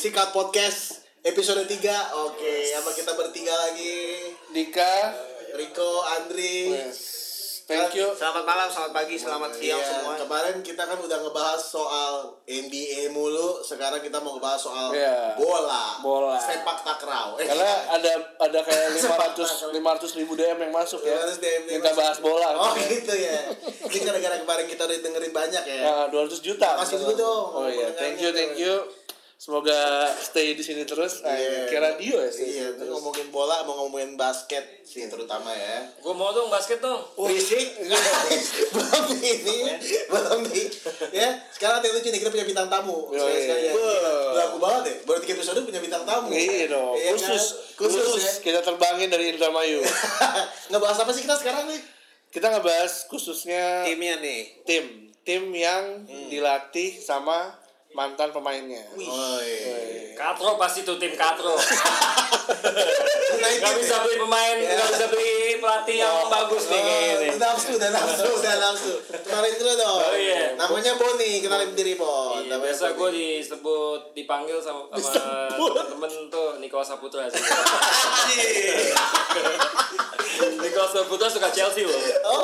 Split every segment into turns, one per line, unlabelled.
podcast episode 3 Oke, sama kita bertiga lagi
Dika,
Riko, Andri
yes. thank you.
Selamat malam, selamat pagi, selamat siang
Iya,
semua.
Kemarin kita kan udah ngebahas soal NBA mulu Sekarang kita mau ngebahas soal
Iya.
bola
Bola.
Sepak takraw Eh,
Karena ada ada kayak 500 500 ribu DM yang masuk ya.
500 DM yang
Minta
masuk.
bahas bola.
Oh gitu ya Ini gara-gara kemarin kita udah dengerin banyak ya
Nah, 200 juta.
Kasih dulu dong.
Oh iya, thank you, thank you. Semoga stay di sini terus.
Iya.
Yeah. Kayak radio ya stay di
Iya,
sini
itu
terus.
ngomongin bola, mau ngomongin basket sih terutama ya.
Gue mau dong basket dong.
Berisik. Oh, iya belum di ini, belum di. Ya, sekarang yang lucu nih kita punya bintang tamu.
Yoi.
Sekali-sekali ya.
Wah.
Laku banget deh. Baru tiga episode punya bintang tamu.
Iya dong.
Iya kan?
Khusus,
khusus,
khusus
ya.
kita terbangin dari Indramayu.
Ngebahas apa sih kita sekarang nih?
kita ngebahas khususnya tim,
Timnya nih.
tim, yang
Hmm.
dilatih sama mantan pemainnya.
Oh, iya.
Katro pasti tuh tim Katro.
United
Iya.
Gak bisa beli pemain, gak bisa beli pelatih yang bagus
iya,
Oh,
nih
udah
kayaknya.
nafsu, udah nafsu, udah nafsu. Kenalin dulu dong.
Oh, iya.
Namanya Boni, kenalin diri Bon.
Iya,
Namanya
biasa
Boni.
gue disebut dipanggil sama, sama temen tuh Niko Saputra sih. Niko Saputra suka Chelsea loh.
Oh,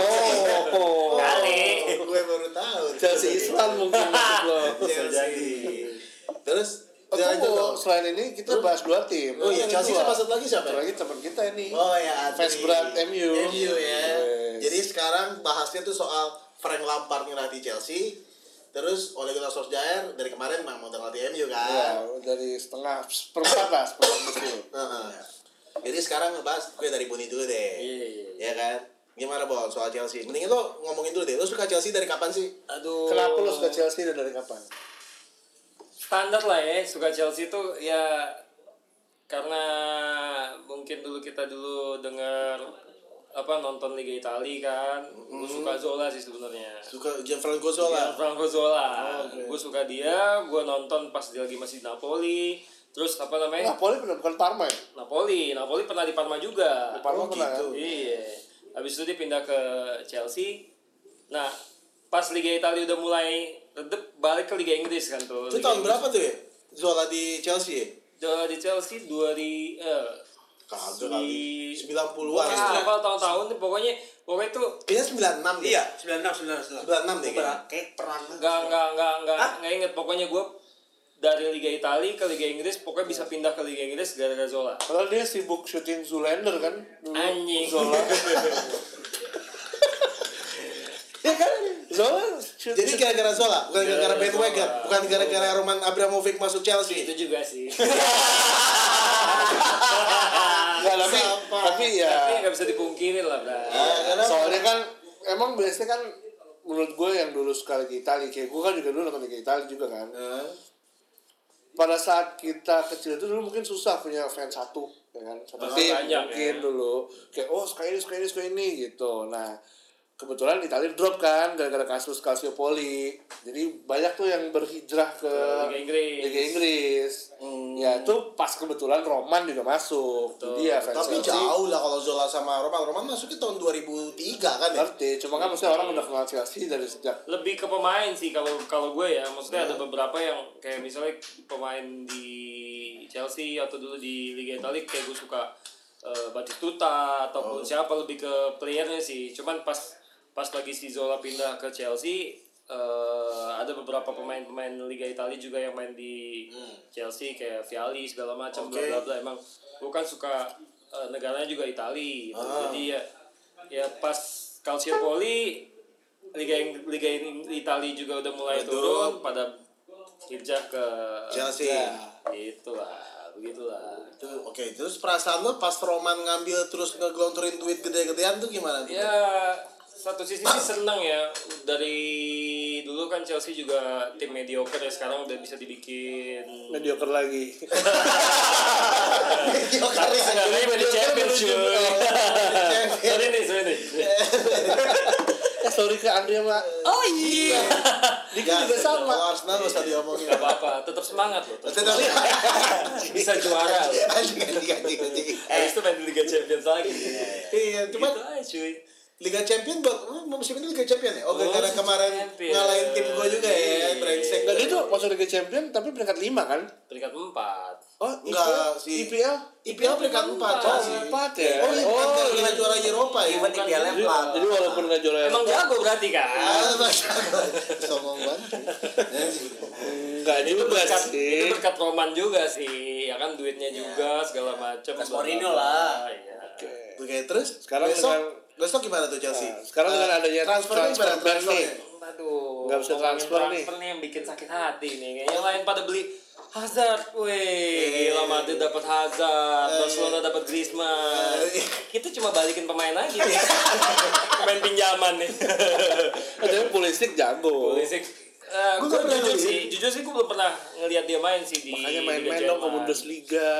oh.
Kali.
gue baru tahu.
Chelsea Island mungkin masuk lo.
Chelsea. Terus
Oh,
jalan
tunggu.
dulu.
selain ini kita bahas dua tim.
Oh iya, Chelsea
Dua.
sama satu lagi siapa?
Satu lagi teman kita ini.
Oh ya, Adri.
Fans berat MU.
MU ya.
Yes.
Jadi sekarang bahasnya tuh soal Frank Lampard ngelatih Chelsea. Terus oleh Gunnar Solskjaer dari kemarin memang mau ngelatih MU
Ya,
kan.
dari setengah perempat lah, seperempat musim.
Heeh. Jadi sekarang ngebahas gue dari Boni dulu deh.
Iya, iya,
Ya kan? Gimana Bon soal Chelsea? Mending lo ngomongin dulu deh. Lo suka Chelsea dari kapan sih?
Aduh.
Kenapa lo suka Chelsea dan dari kapan?
standar lah ya suka Chelsea itu ya karena mungkin dulu kita dulu dengar apa nonton Liga Italia kan
Hmm.
gue suka Zola sih sebenarnya
Suka Gianfranco Zola.
Franco Zola gue suka dia gue nonton pas dia lagi masih di Napoli terus apa namanya
Napoli pernah bukan Parma ya?
Napoli Napoli pernah di Parma juga
Parma
Oh,
pernah
gitu.
kan?
Iya. Habis itu dia pindah ke Chelsea. Nah, pas Liga Italia udah mulai redep balik ke Liga Inggris kan tuh.
Itu
Liga
tahun
Inggris.
berapa tuh ya? Zola di Chelsea ya?
Juara di Chelsea 2000 eh
Kagak kali.
di-
90-an.
ah, hafal tahun-tahun tuh, pokoknya pokoknya tuh
Kayaknya 96 deh.
Iya, 96 96.
96 deh kayaknya.
Kayak perang.
nggak nggak nggak nggak nggak inget pokoknya gue dari Liga Italia ke Liga Inggris pokoknya bisa pindah ke Liga Inggris gara-gara Zola.
Padahal dia sibuk syuting Zoolander kan? Dulu.
Anjing.
Zola. ya kan? Zola syuting.
Jadi gara-gara Zola, bukan gara-gara bandwagon, bukan gara-gara Roman Abramovich masuk
Itu
Chelsea. Eh,
juga sih.
Nggak, tapi,
Siapa?
tapi ya.
Tapi nggak bisa dipungkiri lah, Bra.
Ah, karena-
soalnya kan emang biasanya kan menurut gue yang dulu suka Liga Italia kayak gue kan juga dulu nonton Liga Italia juga kan
Eh,
pada saat kita kecil itu dulu mungkin susah punya fans satu ya kan satu
Orang
tim
banyak,
mungkin
ya.
dulu kayak oh suka ini suka ini suka ini gitu nah kebetulan Italia drop kan gara-gara kasus Calciopoli jadi banyak tuh yang berhijrah ke
Liga Inggris.
Liga Inggris. ya itu pas kebetulan Roman juga masuk dia fans
tapi
Chelsea.
jauh lah kalau Zola sama Roman. Roman masuknya tahun 2003 kan ya?
ngerti cuma kan maksudnya orang udah kenal Chelsea dari sejak
lebih ke pemain sih kalau kalau gue ya maksudnya ada beberapa yang kayak misalnya pemain di Chelsea atau dulu di Liga Italia kayak gue suka eh, Batistuta ataupun siapa lebih ke playernya sih cuman pas pas lagi si Zola pindah ke Chelsea eh, ada beberapa pemain-pemain Liga Italia juga yang main di Chelsea kayak Vialli segala macam
Oke.
bla bla bla emang gue kan suka eh, negaranya juga Italia gitu.
Ah.
jadi ya ya pas Calciopoli Liga Ing- Liga Ing- Italia juga udah mulai
Betul.
turun pada hijrah ke
Chelsea.
Itulah, begitulah.
Tuh, Oke, terus perasaan lo pas Roman ngambil terus ngegelontorin duit gede-gedean tuh gimana? tuh?
Ya satu sisi sih seneng ya dari dulu kan Chelsea juga tim mediocre ya sekarang udah bisa dibikin
mediocre lagi
Mediocre ya.
sebenarnya
Mediocre
di Champions
lucu.
cuy.
Champion.
Sorry nih, sorry nih.
Eh, sorry ke Andrea Mbak. Oh iya. Dika
Ya,
juga sama.
Kalau Arsenal nggak usah diomongin.
Gak apa-apa, tetap semangat loh. tetap
Tetap-
Bisa juara loh.
Anjing, anjing, anjing, anjing.
Habis itu main di Liga Champions lagi.
Iya,
Cuma
cuman
gitu aja cuy.
Liga Champion buat hmm, musim ini Liga Champion ya? Oh,
Oh,
gara-gara
Liga
kemarin
Champion.
ngalahin tim gue juga ya,
Iya.
brengsek.
Enggak dia tuh masuk Liga Champion tapi peringkat 5 kan?
peringkat empat
Oh,
Enggak,
IPL?
si-
IPL?
IPL peringkat 4
Oh, empat ya?
Oh, iya,
Oh,
peringkat
iya.
lima juara Eropa ya.
Even
Bukan
IPL-nya
Jadi-
pelan.
Jadi walaupun nggak juara
emang
Eropa,
jago berarti kan
Ah, masa gua Sombong banget. Ya, sih.
enggak
itu
juga
berkat itu
sih.
berkat Roman juga sih ya kan duitnya juga segala macam
Berkat Mourinho lah.
Iya.
Oke, terus
Sekarang
besok
dengan-
besok gimana tuh Chelsea?
Nah, sekarang
Eh,
dengan adanya
transfernya
transfer
gimana
ban nih.
transfernya?
Aduh,
Nggak bisa
ngomongin
transfer nih.
transfer nih yang bikin sakit hati nih. Kayak Yang lain pada beli Hazard, weh, gila Madrid dapat Hazard, Barcelona dapat Griezmann.
Eh.
Kita cuma balikin pemain lagi nih. pemain pinjaman nih.
Oh, tapi Pulisic jago.
Pulisic eh,
Gua
gua
nggak pernah
jujur
ngeliat.
sih, jujur sih gue belum pernah ngelihat dia main sih di
Makanya
Liga
main-main dong ke
Jerman.
Bundesliga.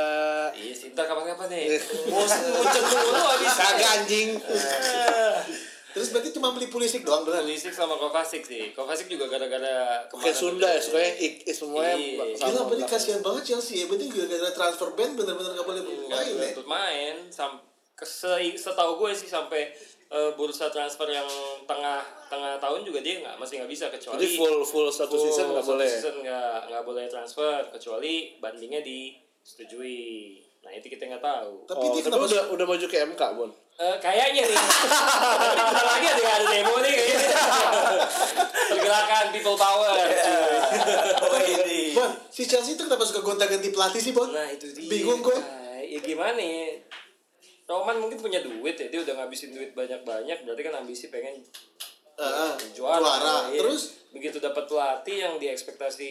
Iya sih, ntar kapan-kapan nih.
Eh.
Bosan muncul mulu abis.
Kagak anjing.
Eh.
Terus berarti cuma beli Pulisic doang benar.
Pulisic sama Kovacic sih. Kovacic juga gara-gara
Kayak Sunda ya, sukanya ik, ik semuanya
Iya.
Gila,
sama. Iya,
berarti kasihan banget Chelsea ya. Berarti gara-gara transfer ban bener-bener nggak boleh
nggak
bermain ya.
ikut main sam kese- setahu gue sih sampai eh, bursa transfer yang tengah tengah tahun juga dia nggak masih nggak bisa kecuali
Jadi full full satu
full
season nggak
satu
boleh. ya?
season nggak nggak boleh transfer kecuali bandingnya disetujui nah itu kita nggak tahu
Tapi
oh,
dia
tapi
kenapa
udah udah maju ke MK, Bon.
Eh, kayaknya nih Bentar lagi ada ada demo nih kayaknya pergerakan people power iya.
Oh, ini.
Bon, si Chelsea itu kenapa suka gonta-ganti pelatih sih, Bon?
Nah itu dia.
Bingung gue.
Nah, ya gimana ya? Roman mungkin punya duit ya, dia udah ngabisin duit banyak-banyak, berarti kan ambisi pengen
Heeh.
juara.
juara.
Iya.
Terus
begitu dapat pelatih yang diekspektasi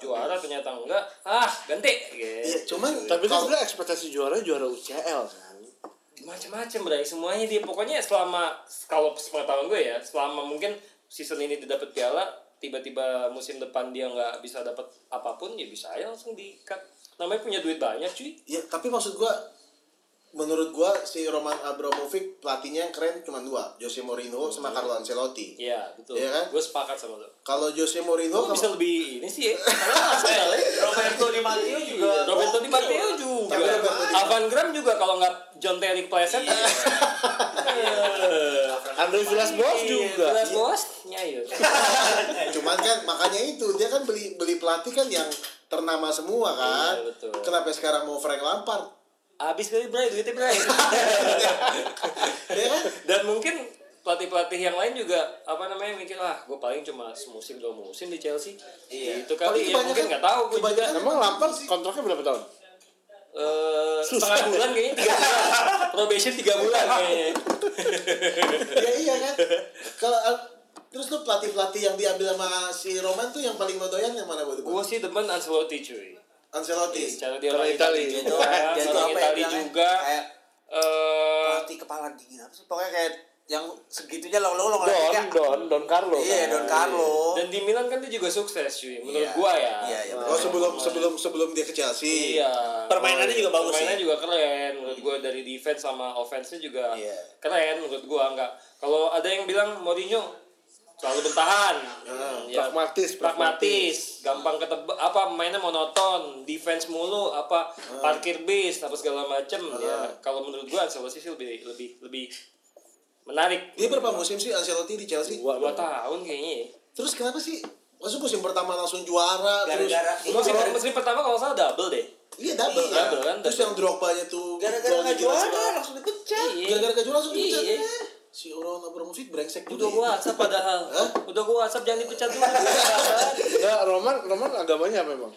juara ternyata enggak, ah ganti.
ya
Gitu.
cuman
Tapi kan
kalau-
sebenarnya ekspektasi juara juara UCL kan.
Macam-macam berarti semuanya dia pokoknya selama kalau sepengetahuan gue ya, selama mungkin season ini dia dapat piala, tiba-tiba musim depan dia nggak bisa dapat apapun ya bisa aja langsung di cut. Namanya punya duit banyak cuy.
ya tapi maksud gua menurut gua si Roman Abramovich pelatihnya yang keren cuma dua, Jose Mourinho sama Carlo Ancelotti.
Hmm. Iya, betul.
Iya kan?
Gue sepakat sama lo.
Kalau Jose Mourinho
Kok bisa lebih ini sih ya?
Roberto Di Matteo juga.
Roberto Di Matteo juga.
Tapi Roberto Di-
Avan Graham juga kalau nggak John Terry Pleasant.
Andre Villas-Boas
Iya,
juga.
Jelas bosnya ya.
Cuman kan makanya itu dia kan beli beli pelatih kan yang ternama semua kan.
Iya, betul.
Kenapa sekarang mau Frank Lampard?
Abis kali Bray, duitnya Bray.
Ya kan?
Dan mungkin pelatih-pelatih yang lain juga apa namanya mikir ah gue paling cuma semusim dua musim di Chelsea
Iya.
itu kali ya
kebanyakan-
mungkin nggak tahu gue juga
kebanyakan-
Emang Lampard kontraknya berapa tahun?
eh,
Susah.
setengah bulan kayaknya tiga bulan probation tiga bulan
Iya.
kayaknya
ya iya kan. Kalau al- terus lu pelatih-pelatih yang diambil sama si Roman tuh yang paling lo doyan yang mana buat lu?
gue sih demen Ancelotti cuy
Ancelotti.
cara dia
Cara
orang
Itali.
Itali
Dia
juga,
tuh- dia tuh
orang
apa ya
Itali
bilangnya?
juga.
Kayak
Eh,
pelatih kepala dingin apa sih? Pokoknya kayak yang segitunya long-long
Don, Don, Don Carlo. kan?
Iya, Don Carlo.
dan di Milan kan dia juga sukses cuy, menurut
Iya.
gua ya.
Iya, iya,
Oh sebelum sebelum sebelum dia ke Chelsea.
Iya.
Permainannya juga bagus
Permainannya
sih.
juga keren menurut gua dari defense sama offense-nya juga
Iya.
keren menurut gua enggak. Kalau ada yang bilang Mourinho selalu bertahan. Ya,
Pragmatis,
pragmatis, gampang ketebak apa mainnya monoton, defense mulu, apa parkir bis, apa segala macem ya. Kalau menurut gua Ancelotti sih lebih lebih lebih menarik.
Dia berapa musim sih Ancelotti di Chelsea?
Dua,
Dua tahun kayaknya. ya.
Terus kenapa sih? Maksud musim pertama langsung juara
Gara-gara
terus
ini
Musim,
gara-
musim pertama kalau nggak salah double deh.
Iya double
kan? Iya,
kan.
double kan,
Terus
double.
yang Drogba-nya tuh
gara-gara
golnya
nggak
gila
juara
semua.
langsung dipecat.
Gara-gara gak juara langsung
Iya.
dipecat. Eh, Si Roman Abramovich brengsek juga.
Udah gua WhatsApp padahal.
Hah?
Udah gua WhatsApp jangan dipecat dulu. Eh
Enggak, Ya, Roman, Roman agamanya apa emang?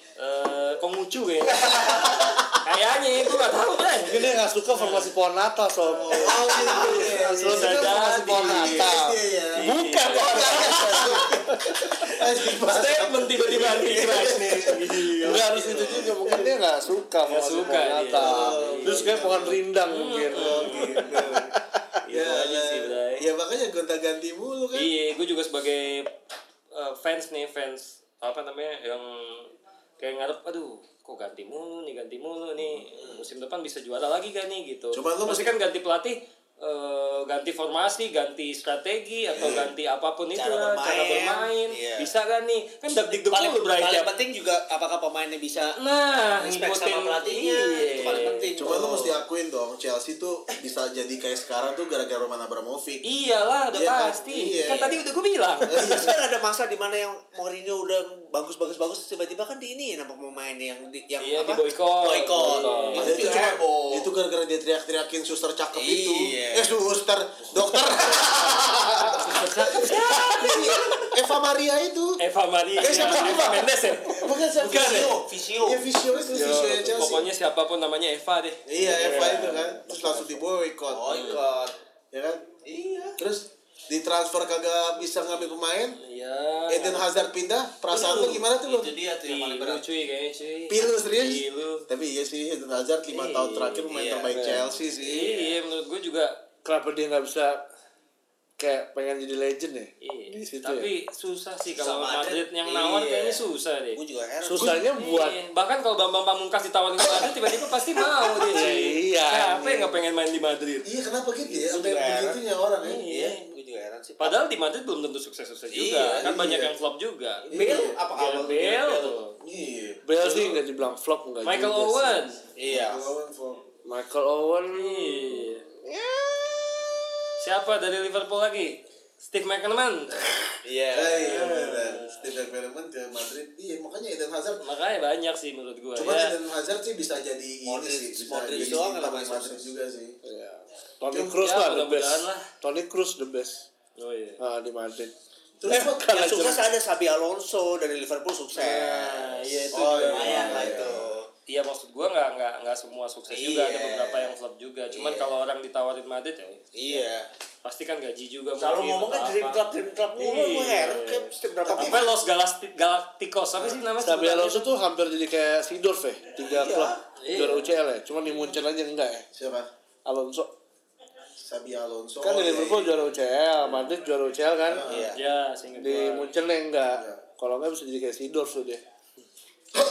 Konghucu Eh, kayaknya. Kayaknya gua enggak tahu, Bray.
Mungkin dia nggak suka formasi pohon Natal sob.
Oh gitu.
Ancelotti kan
bisa
formasi
jadi.
pohon Natal.
Iya.
Bukan pohon Natal.
Iya, Statement tiba-tiba nih Bray.
Enggak harus itu juga mungkin dia nggak suka formasi
Iya. suka
pohon
dia.
Natal.
Iya.
Terus kayak pohon rindang mungkin.
Itu aja sih, Bray.
Ya makanya gonta-ganti mulu kan.
Iya, gua juga sebagai eh, fans nih, fans apa namanya yang kayak ngarep aduh kok ganti mulu nih ganti mulu nih musim depan bisa juara lagi gak nih gitu
Coba lu
pasti kan ganti pelatih eh, ganti ganti formasi, ganti strategi atau ganti apapun itu
Cara
lah, cara
bermain,
bermain.
iya.
Bisa gak nih? Kan deg-deg
paling,
dulu Bray
paling
tiap-
penting juga apakah pemainnya bisa
Nah,
respect sama pelatihnya
Iya.
itu paling penting
Cuma lu mesti akuin dong, Chelsea tuh bisa jadi kayak sekarang tuh gara-gara Roman Abramovich.
Iyalah, udah
Iya, kan?
pasti.
Iya.
Kan tadi udah gue bilang.
Terus kan ada masa di mana yang Mourinho udah bagus-bagus-bagus tiba-tiba kan di ini nama pemain yang di, yang
Iya,
apa?
diboykot.
Boykot.
Boykot.
Padahal itu
Itu
cuma
heboh.
Iya. itu gara-gara dia teriak-teriakin suster cakep itu.
Iya.
Eh suster, dokter. Eva Maria itu.
Eva Maria.
Eh, siapa sih, Pak?
Mendes ya?
Bukan siapa?
Bukan,
Visio.
Visio, Visio.
Iya Visio itu Visio ya Chelsea.
Pokoknya siapapun namanya Eva deh.
Iya Eva itu kan, terus langsung di boycott.
Boykot.
Ya kan?
Iya.
Terus ditransfer kagak bisa ngambil pemain.
Iya.
Eden Hazard pindah, perasaan lu gimana tuh lu?
Itu dia tuh yang paling
Pilu
berat.
cuy kayaknya cuy.
Pilu serius?
Pilu.
Tapi iya sih Eden Hazard 5 tahun terakhir pemain
Iya,
terbaik Chelsea sih.
Iya, menurut gue juga.
Kenapa dia nggak bisa kayak pengen jadi legend ya?
Iya.
Di situ ya.
Tapi susah sih kalau
Sama
Madrid
Madrid,
yang nawar
iya.
kayaknya susah deh.
Gue juga heran.
Susahnya buat
Iya, bahkan kalau Bambang Pamungkas ditawarin ke Madrid tiba-tiba pasti mau dia cuy.
Iya.
Siapa yang nggak pengen main di Madrid?
Iya kenapa gitu ya? Sampai
juga heran.
begitunya orang ya?
Iya, gue juga heran sih.
Padahal di Madrid belum tentu sukses-sukses juga,
Iya,
kan banyak
iya.
yang flop juga.
Bel apa
Gareth
Alba?
Bale,
Iya.
Bale sih nggak dibilang flop nggak
Michael
juga sih.
Owen,
Iya.
Lawan for-
Michael Owen
Iya. siapa dari Liverpool lagi? Steve McManaman,
Iya.
Eh, iya benar. Steve McManaman ke Madrid. Iya makanya Eden Hazard.
makanya banyak sih menurut gua.
Cuman
ya.
Eden Hazard sih bisa jadi ini
Modric-
sih. Bisa
Modric
jadi
doang
bintang
lah
di Madrid
sukses.
juga sih.
ya. Tony
Ya,
Cruz lah the
mudah-mudahan
best
lah.
Tony Cruz the best
Oh iya.
ah, di Madrid
Terus
Eh,
buat-
kalah
Yang sukses
Jerman.
ada Sabi Alonso dari Liverpool sukses.
Nah, iya itu.
Oh,
juga.
iya.
Lumayan lah itu.
Iya maksud gua nggak nggak nggak semua sukses juga ada
Iya.
beberapa yang flop juga. Cuman
Iya.
kalau orang ditawarin Madrid ya
Iya.
pasti kan gaji juga.
Selalu
mungkin,
ngomongnya
atau
dream
apa.
club, dream club mulu
Iya.
gue heran kayak setiap berapa
Sampai Los Galasti- Galacticos apa sih namanya?
Tapi
sebutannya?
Alonso tuh hampir jadi kayak Sidorf ya tiga
Iya.
klub juara UCL ya cuman di Munchen aja enggak ya
Siapa?
Alonso
Sabi Alonso.
kan
Oh,
di
iya,
Liverpool
iya.
juara UCL Madrid juara UCL kan
Iya.
Ya, seingat
di
gua.
Munchen ya enggak
Iya.
kalau enggak bisa jadi kayak Sidorf tuh dia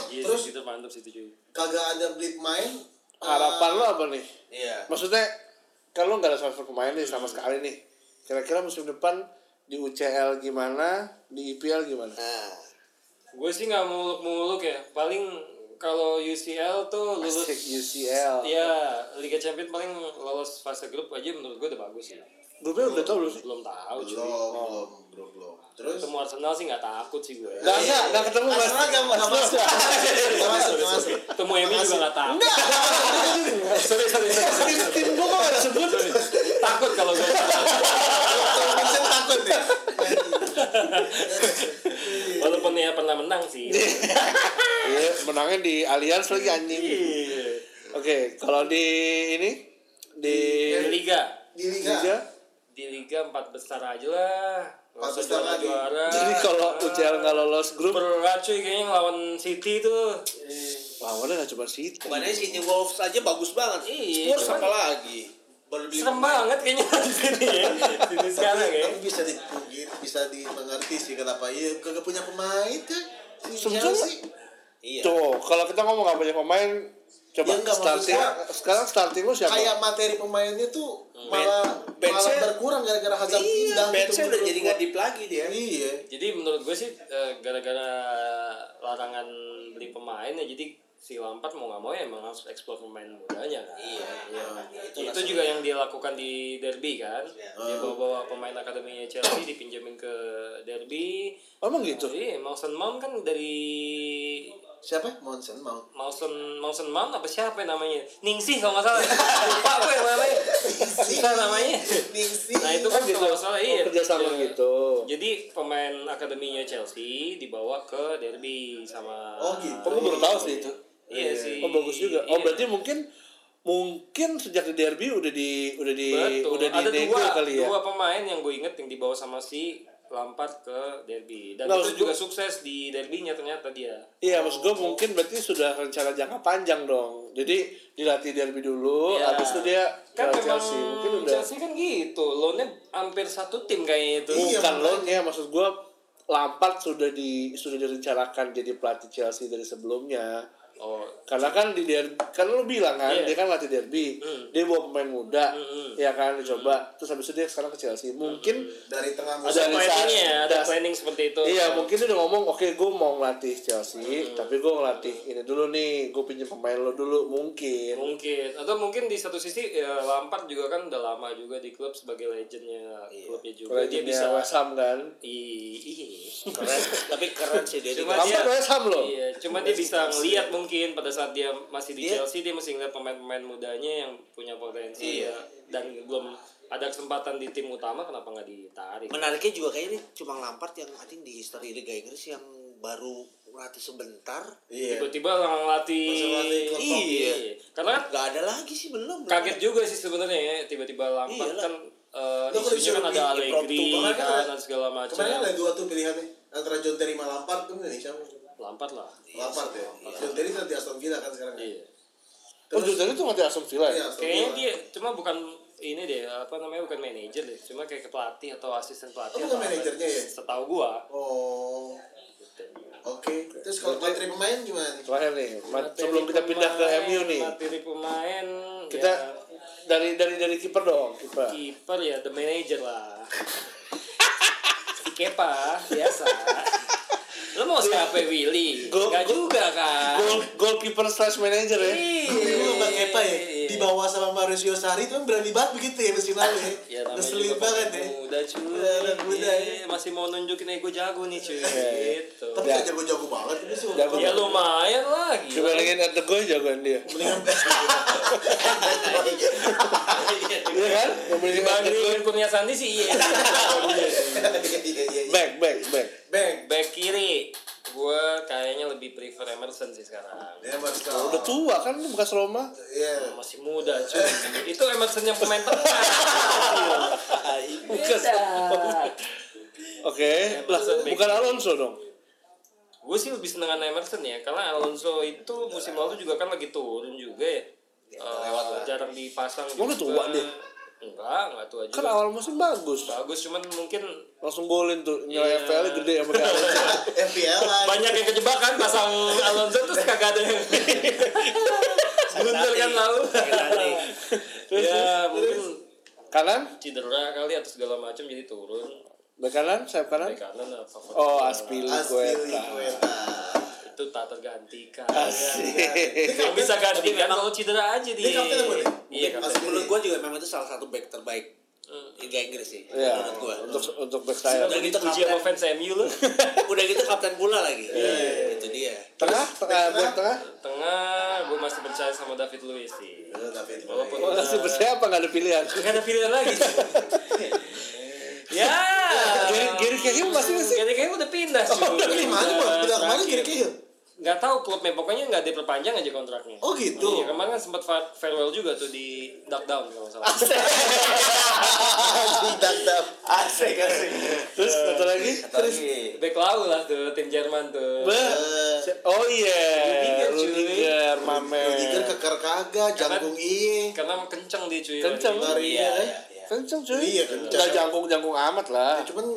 Iya,
Terus?
sih, itu mantap sih itu cuy.
Kagak ada beli main. Ah.
harapan lo apa nih
Iya.
maksudnya kalau nggak ada transfer pemain nih sama sekali nih kira-kira musim depan di UCL gimana di IPL gimana
Nah,
Gue sih nggak muluk-muluk ya. Paling kalau UCL tuh lulus
Asik
Iya.
UCL
ya Liga Champions paling lolos fase grup aja menurut gue udah bagus ya.
gue bilang udah tau belum sih
Belum tahu
Belum,
cuy.
belum, belum, belum. Terus?
Ketemu Arsenal sih nggak takut sih gue.
Gak, gak, gak ketemu mas
Arsenal gak masuk. Gak masuk, gak masuk.
Ketemu Emi juga nggak takut.
Sorry, sorry, sorry Tim gue kok gak disebut
takut kalau gue.
Kalau Vincent takut nih.
Walaupun ya pernah menang sih.
Iya, menangnya di Allianz lagi anjing
Iya.
Oke, kalau di ini Di
Iya.
Di Liga.
Di Liga.
Liga
Di Liga empat besar aja lah. Nggak
Empat
usah
besar lagi.
juara-juara.
Jadi kalau UCL gak lolos grup
berat cuy kayaknya ngelawan City tuh
Iya.
Lawannya gak cuma City
kemarin City Wolves aja bagus banget.
Iya,
Spurs
cuman-
apa lagi? Baru beli
serem banget kayaknya City ya City
kan,
sekarang
Tapi,
ya
tapi bisa dipungkit, bisa dimengerti sih kenapa iya kagak punya pemain kan? Si
Sebetulnya-
Chelsea.
Iya.
Tuh, kalau kita ngomong gak banyak pemain Coba
Iya,
Ya, nggak, maksud
starting
gua-
Sekarang starting lu siapa?
Kayak materi pemainnya tuh
Hmm.
malah
bench-nya-
malah berkurang gara-gara Hazard
Iya,
pindah. gitu
Benz udah
menurut
jadi
gua.
nggak deep lagi dia.
Iya.
jadi menurut gue sih eh, gara-gara larangan beli pemain ya jadi si Lampard mau nggak mau ya emang harus eksplor pemain mudanya kan
Iya,
iya.
Itulah
itu juga yang dia lakukan di derby kan dia bawa-bawa pemain akademinya Chelsea dipinjemin ke derby
Emang gitu?
jadi Mason Mount kan dari
Siapa? Monson mau.
Mausen Mausen Mount apa siapa yang namanya? Ningsih kalau nggak salah. Lupa gue yang namanya. Siapa Iya, namanya?
Ningsi.
Nah itu kan kalau nggak salah iya.
Oh, Kerjasama
Iya.
gitu
Jadi pemain akademinya Chelsea dibawa ke derby sama.
Oh, gitu.
Kok gue baru tau sih itu
Iya sih.
Oh bagus juga. Oh
Iya.
berarti mungkin mungkin sejak di derby udah di udah di
Iya, Betul.
udah di
Ada
nego
dua
kali ya.
dua pemain yang gue inget yang dibawa sama si Lampard ke derby dan
Nah, maksud
itu juga
gue-
sukses di derbynya ternyata dia.
Iya maksud gue mungkin berarti sudah rencana jangka panjang dong. Jadi dilatih derby dulu,
Iya.
habis itu dia
Kan
ke Ya,
memang
Chelsea.
Chelsea,
Mungkin udah
kan gitu, loannya hampir satu tim kayaknya itu.
Iya,
bukan
makanya.
loan ya maksud gue Lampard sudah di sudah direncanakan jadi pelatih Chelsea dari sebelumnya.
Oh,
Karena kan di derby, kan lu bilang kan,
Iya.
dia kan latih derby.
Hmm.
Dia bawa pemain muda,
Hmm.
ya kan dicoba. Terus habis itu dia sekarang ke Chelsea. Mungkin
dari tengah
ada
musim
Ada-
planningnya ya, ada
dasar-
planning seperti itu.
Iya mungkin dia udah ngomong oke gue mau ngelatih Chelsea
Hmm.
tapi gue ngelatih ini dulu nih gue pinjem pemain lo dulu mungkin
Ya, mungkin atau mungkin di satu sisi ya, Lampard juga kan udah lama juga di klub sebagai legendnya
Iya.
klubnya juga
kalau
dia
dia
bisa
West Ham kan
I- iya
ya, keren tapi keren sih dia
Cuma
Dia-
dia-
Lampard West Ham loh
iya cuma dia bisa ngelihat mungkin pada saat dia masih di
Iya.
Chelsea dia masih ngeliat pemain-pemain mudanya yang punya potensi
Iya.
ya. dan belum ada kesempatan di tim utama kenapa nggak ditarik
menariknya juga kayaknya ini cuma Lampard yang I think di history Liga Inggris yang baru melatih sebentar
iya
tiba-tiba orang ngelatih
Langsung ngelatih klub
iya.
top.
karena kan
nggak ada lagi sih belum
kaget juga sih sebenarnya ya tiba-tiba Lampard
Iyalah.
kan eh,
Lo kalau
isunya kan
disuruh
ada
di- impromptu
Allegri
banget kan
kan
ada-
dan segala macam
kemarin kan ada dua tuh pilihannya antara John Terry sama Lampard tuh Indonesia
Lampard lah
Lampard ya John Terry kan di Aston Villa kan sekarang kan?
iya
oh Jordan itu ngelatih Aston Villa
Iya,
ya
Aston
kayaknya
Villa.
dia cuma bukan ini deh apa namanya bukan manajer deh cuma kayak ke pelatih atau asisten
Oh,
pelatih
bukan
atau apa.
manajernya ya?
setahu gua
oh oke terus kalau materi pemain gimana nih
terakhir nih ma-
Materi
sebelum kita pindah ke
pemain,
MU nih
materi pemain
kita
ya,
dari dari dari kiper dong kiper
kiper ya the manager lah si Kepa biasa lo mau siapa Willy
Gua- gua-
nggak juga kan Iya.
goal goalkeeper slash manager ya
Dulu Bang Kepa ya, di bawah sama Mauricio Sarri tuh kan berani banget begitu ya musim lalu
Ya,
ya.
namanya
Ngeselin
juga
banget ya.
pemain Muda cuy.
Iya, anak muda ya.
Iya, masih mau nunjukin ego jago nih cuy. gitu.
Tapi gak jago-jago banget itu sih.
Jago.
Ya lumayan lah gila.
dibandingin at the goal jagoan dia
Mendingan
iya kan dibandingin at the goal
Dibandingin Kurnia Santi sih
Iya,
iya.
iya, iya, iya.
back back back
Bang.
Back kiri. Gue kayaknya lebih prefer Emerson sih sekarang.
Ya, Mas Kal.
udah tua kan lu bekas Roma
Iya.
Masih muda cuy. Itu Emerson yang pemain tengah. Iya.
Iya.
Bekas Roma. Oke,
Iya,
lah bukan Alonso dong.
Gue sih lebih senengan Emerson ya. Karena Alonso itu musim lalu juga kan lagi turun juga ya. Eh, jarang dipasang
Emang udah tua dia?
Enggak, enggak tua
Kan
juga.
awal musim bagus.
Bagus cuman mungkin
Langsung golin tuh. Nilai
Iya.
FPL -nya gede sama kayak Alonso.
FPL lah.
banyak yang kejebak kan pasang Alonso terus kagak ada yang blunder kan lalu ya mungkin
Kanan?
cedera kali atau segala macam jadi turun
Bek kanan, sayap kanan.
dari kanan apa favorit
Oh,
orang.
Aspili
Aspili
Gueta.
Kueta.
itu tak tergantikan
Asik.
yang bisa gantikan kalau cedera aja di
Dia kapten apa dia?
iya
Mungkin
kapten
masih-
menurut gue juga memang itu salah satu back terbaik
Hmm.
Liga Inggris sih
Ya,
menurut gue
untuk untuk back sayap.
Udah gitu
Udah gitu
dipuji sama fans MU lu
udah gitu kapten pula lagi itu dia
Tengah, tengah, back tengah.
Tengah, gue masih percaya sama David Luiz sih
Eh, David
Walaupun-
Moyes.
Oh, masih percaya apa nggak ada pilihan?
Gak ada pilihan lagi Ya
Gary- Gary Cahill masih nggak sih?
Gary Cahill udah pindah sih
Udah kemana bang?
Iya,
Udah kemana kira kira?
Gak tau klubnya, pokoknya gak diperpanjang aja kontraknya
Oh gitu.
Iya, kemarin kan sempat fa- farewell juga tuh di Duck Down kalau nggak salah.
Tidak dap.
asik asik
Terus satu lagi.
terus
Back Lau lah tuh, tim Jerman
Eh,
tuh.
Be. Oh iya,
Rudiger, cuy.
Rudiger,
Rudiger
Mame.
keker kagak, jangkung iye.
Karena kenceng dia cuy.
Kenceng.
Lari ya.
iya iya iya.
Kencang cuy.
Iya,
Nggak
kencang.
jangkung-jangkung amat lah.
Ya, Cuman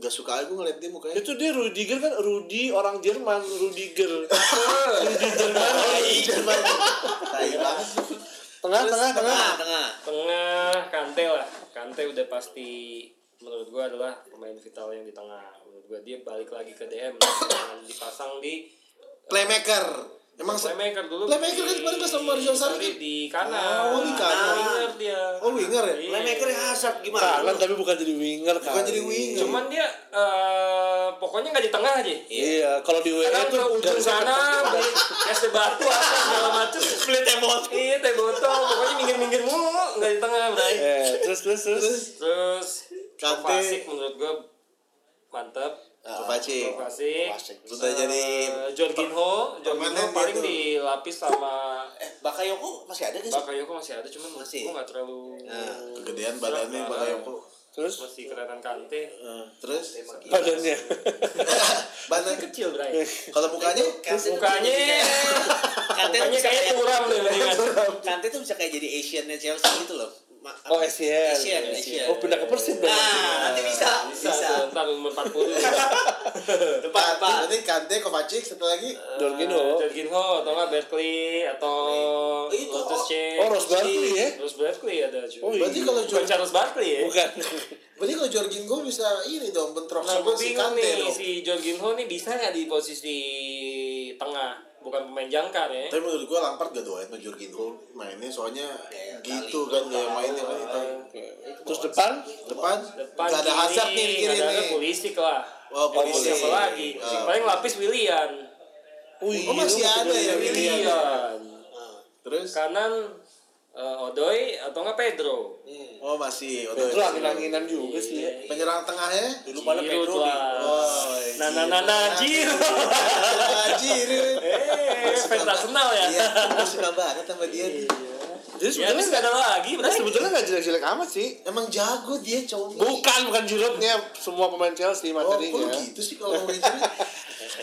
gak suka aja gue ngeliat dia mukanya.
Itu dia Rudiger kan Rudi orang Jerman, Rudiger. Rudi Jerman.
Jerman. Tai banget.
Oh, iya. Tengah, tengah, tengah.
tengah tengah
Tengah Kante lah. Kante udah pasti menurut gua adalah pemain vital yang di tengah. Menurut gua dia balik lagi ke DM dengan dipasang di
Playmaker. Emang se-
playmaker dulu.
Playmaker kan
di-
kemarin pas sama Mario Sarri kan?
di kanan. Ah,
Oh, di kanan.
Winger dia.
Oh, winger ya?
Iya.
playmaker Hazard
Nah,
gimana
Kanan tapi bukan jadi winger kan.
Bukan jadi winger.
Cuman dia eh, pokoknya nggak di tengah aja.
Iya, kalau di WA
Kadang ke
tuh
ujung sana beli es teh batu apa segala macem
split emot
Iya teh botol pokoknya minggir-minggir mulu nggak di tengah berarti.
Eh, terus terus terus.
Terus
Kante.
Kovacic menurut gue mantap.
Eh,
Kovacic.
Kovacic.
Sudah jadi
Eh, Jorginho, Jorginho
permanen
paling
dia tuh.
dilapis sama
eh Bakayoko masih ada nggak sih
Bakayoko masih ada cuman masih
Masih. Eh,
gue nggak terlalu
kegedean badannya
Serang.
Bakayoko.
Terus
masih kelihatan Kante.
Eh, Terus
badannya.
Masih
badan
kecil
Eh,
berarti.
kalau mukanya
Mukanya
Kante tuh
mukanya
bisa
kayaknya
kayak
kurang deh mendingan.
Kante tuh bisa kayak jadi Asiannya Chelsea gitu loh Ma-
Oh,
E
SCL.
Asian, Asian.
Ah.
Oh, pindah ke Persib dong.
nah nanti bisa
Bisa,
bisa
tuh, ntar umur 40.
Depan, depan.
Nanti Kante, Kovacic, satu lagi.
Eh,
Jorginho.
Jorginho atau nggak Berkeley atau
Itu,
Lotus
oh,
Check.
Oh, Ross Barkley ya?
Terus Barkley ada juga.
Oh, iya.
Berarti kalau
Bukan
Jorginho,
Charles Barkley ya?
Bukan.
berarti kalau Jorginho bisa ini dong bentrok sama
Nah, gue
si
bingung
Kante
nih
dong.
si Jorginho nih bisa nggak di posisi tengah? Bukan pemain jangkar ya?
Tapi menurut gue Lampard gak doain sama Jorginho mainnya soalnya
Ya, ya,
gitu
kali.
kan gaya mainnya kan kita.
Terus depan
Depan,
Eh, Depan
gak ada
kiri,
Hazard nih di kiri
nggak ada
nih.
Pulisic lah.
Oh,
Yang mau
Pulisic.
siapa lagi?
Ah.
Paling lapis Willian.
Wih,
Oh, masih
lu
ada ya,
Willian.
Willian.
Willian.
Nah. Terus,
Kanan eh, Odoi atau nggak Pedro?
oh masih. Odo-
Pedro angin-anginan juga sih Iya, ya.
Penyerang tengahnya?
Eh,
Dulu pada
Giroud
Pedro nih.
lah.
Oh,
Nah, nah, nah, nah, Giroud.
Jiru.
Eh, fans Arsenal ya? Iya.
Iya, gue suka banget sama dia. nih. Iya,
Jadi
Ya, terus
sebetulnya
nggak ada lagi,
Nah,
berarti
sebetulnya nggak jelek-jelek amat sih.
Emang jago dia cowok.
Bukan, bukan julupnya semua pemain
Oh,
Chelsea
kok lu
materinya.
gitu sih kalau ngomongin Jiru?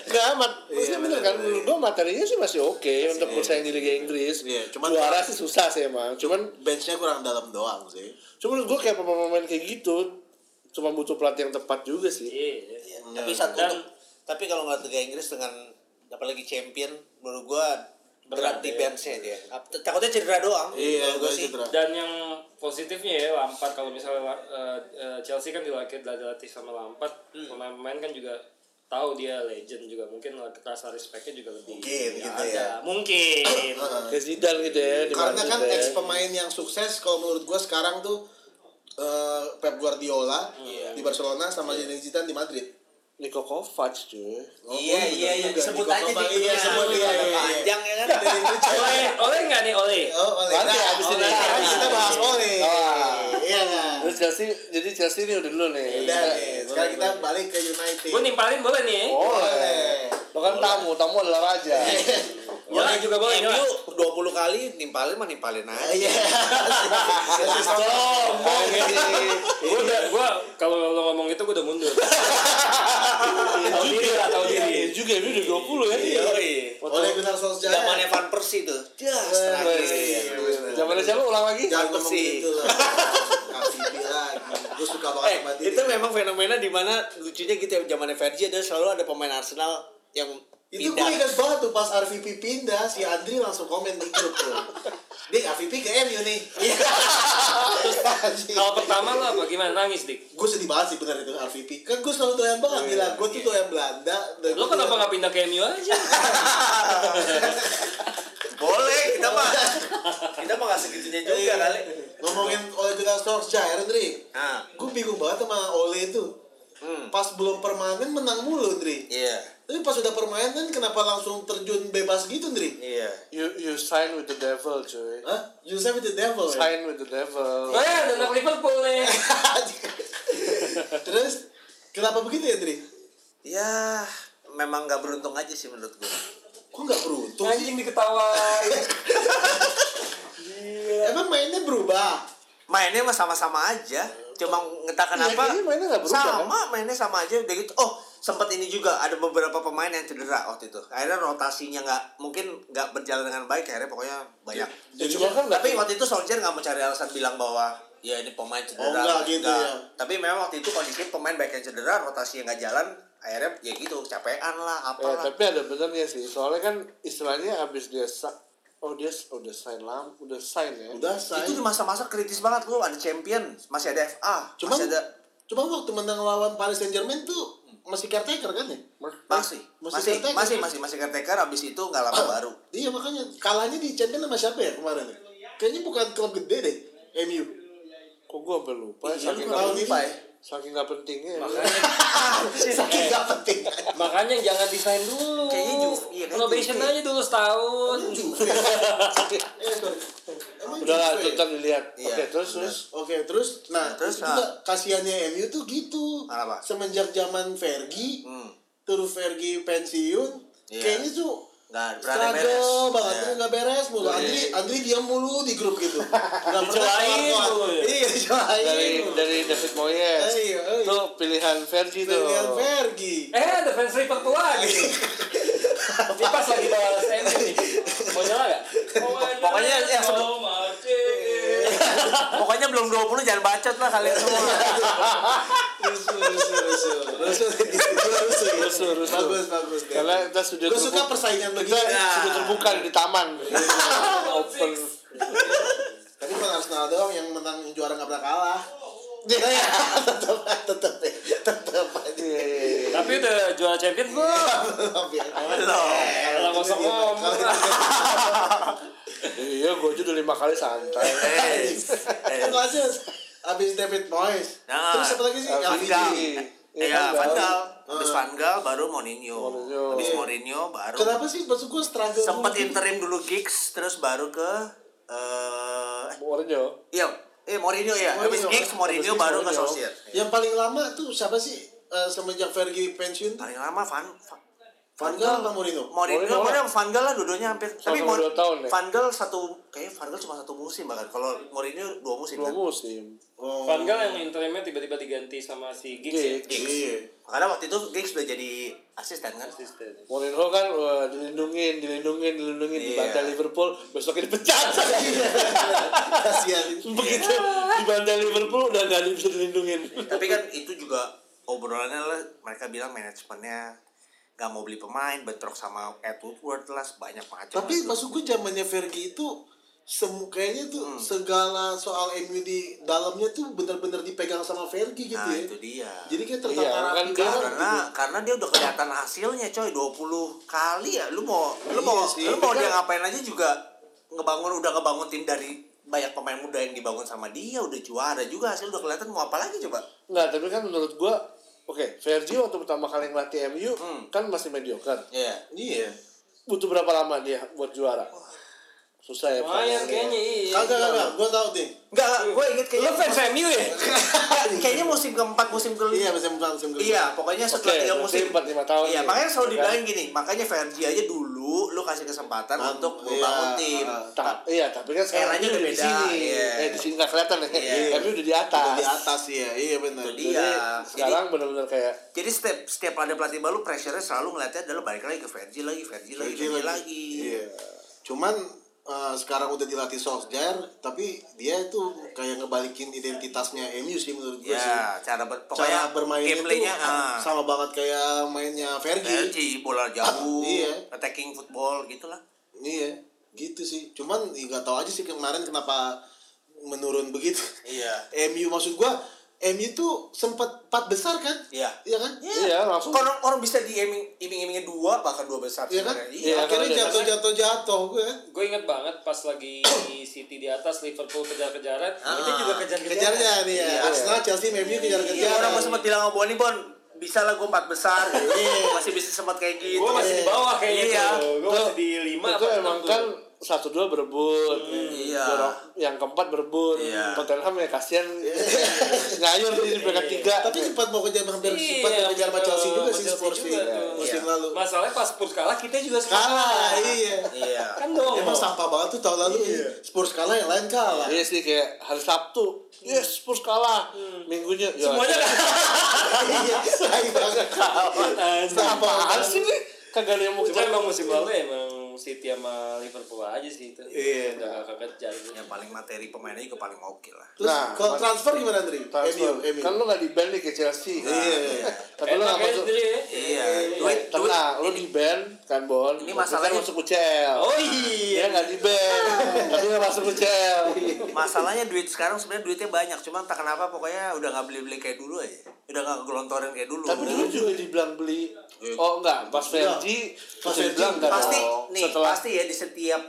Nggak amat. Maksudnya
Iya,
bener kan,
bener,
menurut gua materinya sih masih oke untuk bersaing di Liga Inggris.
Iya, cuman-
Juara sih susah sih emang. Cuman,
Benchnya kurang dalam doang sih.
cuman menurut gua kayak pemain-pemain kayak gitu, cuma butuh pelatih yang tepat juga sih.
Iya.
Iya,
Iya.
Tapi satu
Dan-
untuk- tapi kalau nggak Liga Inggris dengan apalagi champion menurut gua
Berat,
berat di
ya.
benchnya dia. Ap- Takutnya cedera doang.
Iya,
menurut
gue
gua sih.
cedera.
Dan yang positifnya ya Lampard kalau misalnya eh, eh, Chelsea kan dilatih dilatih sama Lampard,
Hmm.
pemain-pemain kan juga tahu dia legend juga mungkin rasa respectnya juga lebih
Mungkin
lebih
gitu
ada.
ya. Oh,
mungkin
Kayak Zidane gitu ya. di
Karena
Madrid
kan
ya.
ex pemain yang sukses kalau menurut gue sekarang tuh eh, Pep Guardiola
Iya.
di Barcelona sama Zinedine Zidane di Madrid.
Niko Kovac cuy.
Oh,
Iya,
bener
iya, iya,
juga.
disebut
Di
aja
Copa-
di
iya, sebut iya, iya, iya.
panjang ya kan.
Dari Inggris cewek.
oleh oleh nggak nih oleh
Oh, oleh.
Nanti
Nah,
abis ini.
oleh. Nanti kita bahas oleh.
Ah.
Iya nggak?
Terus Chelsea, jadi Chelsea ini udah dulu nih.
Udah nih, sekarang kita balik ke United.
gue nimpalin boleh nih
Oh,
ya?
Boleh. Lo kan tamu, tamu adalah raja.
Iya.
boleh juga boleh
MU 20 kali nimpalin mah nimpalin aja.
Iya.
Sombong
gue udah gue kalau lo ngomong itu gue udah mundur tahu diri lah tahu
Iya
diri
juga, ini udah 20 ya.
Yoi.
Oleh Gunnar Solskjaer.
Zamannya Van Persie tuh. Jas terakhir.
Iya.
Zamannya siapa ulang lagi?
Jangan ngomong
Bersih.
gitu lah. Kasih dia lagi. Gue suka banget
Eh,
sama dia.
itu memang fenomena di mana lucunya gitu ya zamannya Fergie ada selalu ada pemain Arsenal yang
Itu gue
pindah.
ingat banget tuh pas RVP pindah, si Andri langsung komen di grup tuh. Dik, RVP ke Iya. MU nih.
kalau pertama lo apa gimana nangis dik
Gue sedih banget sih bener itu RVP. Kan gue selalu doyan banget, bilang gue tuh doyan Belanda. dan
lo
gua
kenapa
doyan-
nggak pindah ke MU aja
Boleh kita mah. kita mah nggak segitunya juga kali.
Ngomongin Ole Gunnar Solskjaer, Andri.
Nah,
Gue ya, bingung banget sama Ole itu.
hmm.
Pas belum permanen menang mulu, Andri.
Iya.
Tapi pas udah permainan kenapa langsung terjun bebas gitu, Andri?
Iya.
You, you sign with the devil cuy.
Hah? You say with the devil ya?
Sign with the devil.
Nah, ada anak Liverpool eh. nih.
Terus kenapa begitu ya, Tri?
Ya, memang nggak beruntung aja sih menurut gue.
Kok nggak beruntung sih?
Anjing diketawain.
Emang mainnya berubah?
Mainnya mah sama-sama aja. Cuma entah kenapa
Iya, kayaknya mainnya nggak berubah, kan?
sama mainnya sama aja udah gitu. Oh, sempat ini juga ada beberapa pemain yang cedera waktu itu. Akhirnya rotasinya nggak mungkin nggak berjalan dengan baik. Akhirnya pokoknya banyak.
Ya, cuma kan nggak-
Tapi waktu itu Solskjaer nggak mau cari alasan bilang bahwa ya ini pemain cedera.
Oh, nggak gitu ya.
Tapi memang waktu itu kondisi pemain baik yang cedera, rotasi yang nggak jalan, akhirnya ya gitu capean
Eh,
lah,
Ya,
apalah.
tapi ada benernya sih. Soalnya kan istilahnya abis dia sa- Oh dia s- udah sign lam, udah sign ya.
Udah saya.
itu di masa-masa kritis banget lu ada champion, masih ada FA,
Cuma eh,
masih ada
cuma waktu menang lawan Paris Saint Germain tuh masih caretaker kan ya?
masih
Masih
masih
caretaker. kan?
masih masih masih caretaker abis itu nggak lama baru
Iya makanya kalahnya di Champions sama siapa ya kemarin? ya? Kayaknya bukan klub gede deh, MU.
Kok gua sampai lupa?
Iya,
ya, saking nggak
Tahun
penting.
ini
Saking nggak pentingnya. ya.
Iya.
sakit nggak penting.
Makanya jangan desain dulu.
Kayaknya Juve, iya kan,
Probation
Juve.
aja dulu setahun.
Eh, sorry. Emang
Udah lah,
gitu
itu
ya?
ntar dilihat.
Iya,
Oke, terus
bener.
terus.
Oke, terus nah,
Nah, terus,
itu
nah.
juga kasihannya MU tuh gitu.
Kenapa?
Semenjak zaman Fergie,
hmm.
terus Fergie pensiun,
Iya.
kayaknya tuh
nggak berani beres
Struggle banget,
Ya.
yeah. nggak beres mulu. Andri, Andri diam mulu di grup gitu. Nggak pernah
Dicelain
keluar-keluar.
mulu ya?
Iya, dicelain.
Dari gitu. dari David Moyes.
Eh, iya, iya.
Itu pilihan Fergie tuh.
Pilihan Fergie.
Eh, ada fans Liverpool lagi. Ini pas lagi bahas MU nih. Mau nyala nggak?
Pokoknya yang ya, sebelum-
sebelum
Pokoknya belum 20 jangan bacot lah kalian semua.
rusuh rusuh rusuh rusuh di situ rusuh ya.
Rusuh, rusuh.
bagus bagus deh
Karena kita sudah
gue suka Nah. Iya, persaingan
kita
begini
sudah terbuka di taman. Open.
tapi bukan Arsenal doang yang menang yang juara nggak pernah kalah
Iya.
ya, tetap tetap tetap aja
Tapi udah juara champion belum?
Belum ya.
Belum.
Eh,
Kalau
itu
kosong
dia.
ngomong.
Kalau itu-
Iya, gue aja udah lima kali santai.
Eh, eh.
Yang kelasnya abis David Moyes
Nah.
terus apa lagi sih
Van
LVD
Gaal.
Iya,
Ya,
Van
Van
Gaal.
Gaal. Habis Van Gaal baru Mourinho.
Mourinho.
Habis
Iya.
Mourinho baru
kenapa sih maksud gue struggle
sempat
mulu?
interim dulu gigs terus baru ke eh
Mourinho.
iya eh Mourinho ya habis
Mourinho.
gigs Mourinho
Habis Giggs,
baru ke
Mourinho.
Solskjaer Iya.
yang paling lama tuh siapa sih Eh, semenjak Fergie pensiun tuh?
paling lama Van Van-
Van Gaal apa Mourinho
Mourinho
Mourinho
Mourinho Van Gaal lah dua-duanya hampir tapi
Sama-sama dua tahun ya?
Van Gaal satu kayaknya Van Gaal cuma satu musim bahkan kalau Mourinho dua musim
Dua
kan
musim.
oh
Van Gaal yang interimnya tiba-tiba diganti sama si Giggs ya?
Giggs.
iya
karena waktu itu Giggs udah jadi asisten kan
Mourinho kan wah, dilindungin, dilindungin, dilindungin
Iya.
dibantai Liverpool, besoknya dipecat.
kasihan
Begitu
Iya.
dibantai Liverpool udah gak bisa dilindungin.
tapi kan itu juga obrolannya lah mereka bilang manajemennya nggak mau beli pemain bentrok sama Ed Woodward lah banyak macam
tapi maksud gue zamannya Fergie itu semu kayaknya tuh
Hmm.
segala soal MU di dalamnya tuh benar-benar dipegang sama Fergie gitu
nah
ya
itu dia
jadi kayak tertata
Iya,
rapi
kan
banget gitu.
karena karena dia udah kelihatan hasilnya coy 20 kali ya lu mau lu mau
Iya sih,
lu mau
tapi
dia
kan-
ngapain aja juga ngebangun udah ngebangun tim dari banyak pemain muda yang dibangun sama dia udah juara juga hasil udah kelihatan mau apa lagi coba
Nah, tapi kan menurut gua oke, Fergie waktu pertama kali ngelatih MU
Hmm.
kan masih mediocre.
Iya
iya
Butuh berapa lama dia buat juara? Susah ya.
Lumayan kayaknya iya.
kagak kagak gue tau deh
enggak gue inget
Lu
kayaknya
fans MU ya?
kayaknya musim keempat musim kelima
iya musim depan musim kedua.
Iya, pokoknya setelah
Oke,
tiga
berarti
musim.
empat, lima tahun
ya.
Iya,
nih.
makanya selalu
Oke.
dibilang gini, makanya Fergie aja dulu lu kasih kesempatan
Bang,
untuk
iya,
membangun tim.
ah,
Ta- iya, tapi kan sekarang
Eranya
dia
udah
udah di
beda,
sini.
iya.
Eh, di sini nggak kelihatan ya.
Iya.
MU udah di atas.
Udah di atas ya iya benar
Itu
Jadi,
dia.
sekarang benar-benar kayak
Jadi setiap setiap ada pelatih baru pressure-nya selalu ngeliatnya adalah balik lagi ke Fergie lagi, Fergie lagi,
Fergie
Fergie
lagi.
lagi.
Iya. Cuman eh, sekarang udah dilatih Solskjaer, tapi dia itu kayak ngebalikin identitasnya MU sih menurut gue sih.
Ya, cara ber,
Cara
pokoknya
bermainnya itu
gameplaynya ah,
sama banget kayak mainnya Fergie.
Fergie bola jauh,
Iya.
attacking football gitulah.
Iya, gitu sih. Cuman ya, nggak tahu aja sih kemarin kenapa menurun begitu.
Iya.
MU maksud gua MU tuh sempat empat besar kan?
Iya.
Iya kan?
Iya, langsung.
Orang, orang bisa diiming-imingnya dua bahkan dua besar
Iya kan?
sebenarnya.
Iya,
Akhirnya
karena
jatuh jatuh jatuh gue kan.
Gue inget banget pas lagi City di atas Liverpool kejar-kejaran,
Ah.
itu juga kejar-kejaran.
Kejarnya nih ya.
Iya.
Arsenal, Chelsea, MU kejar-kejar.
Iya, orang gue sempat bilang sama Boni Bon, bisa lah gue empat besar, gitu. masih bisa sempat kayak gitu.
Gue masih di bawah gitu. kayaknya
Iya.
tuh. Gue masih di lima.
itu
apa
emang
enam
kan
tuh.
satu dua berebut.
Iya.
Jorok- yang keempat berebut.
Iya.
Tottenham ya kasihan ngayur di peringkat tiga.
tapi sempat mau kejar hampir
Iya,
sempat kejar sama
betul.
Chelsea juga sih
Sama
Spurs
Chelsea juga
sih.
tuh.
musim
Iya.
lalu
Masalahnya pas Spurs kalah kita juga suka
kalah iya
Iya.
Kan dong.
emang sampah banget tuh tahun lalu Spurs kalah yang lain kalah
Iya sih kayak hari Sabtu, yes Spurs kalah. Minggunya ya,
Semuanya kan.
iya sayang banget
apaan sih nih? Kagak ada yang mau
Cuma
kejar.
emang musim lalu emang City sama Liverpool aja sih itu.
Iya.
Udah gak kejar.
Yang paling materi pemainnya juga paling oke lah.
terus
Nah,
kalau
mas-
transfer gimana Andri? MU
Transfer.
MU
Kan lu gak di band nih ke Chelsea. kan?
Iya.
Tapi lu gak
Enak ya
masuk.
sendiri ya.
Iya. Duit,
Duit,
duit.
tenang, lu di band kan Bon.
Ini
Tapi
masalahnya-
kan masuk UCL.
Oh iya.
Iya nggak di band, tapi nggak masuk UCL.
Iya. Masalahnya duit sekarang sebenarnya duitnya banyak, cuman tak kenapa pokoknya udah nggak beli-beli kayak dulu aja. Udah nggak gelontorin kayak dulu.
Tapi dulu juga dibilang beli. Oh enggak, pas Fergie,
Pas
pas
Fergie,
dibilang enggak
Hmm. pasti
dong.
nih
Setelah
pasti ya di setiap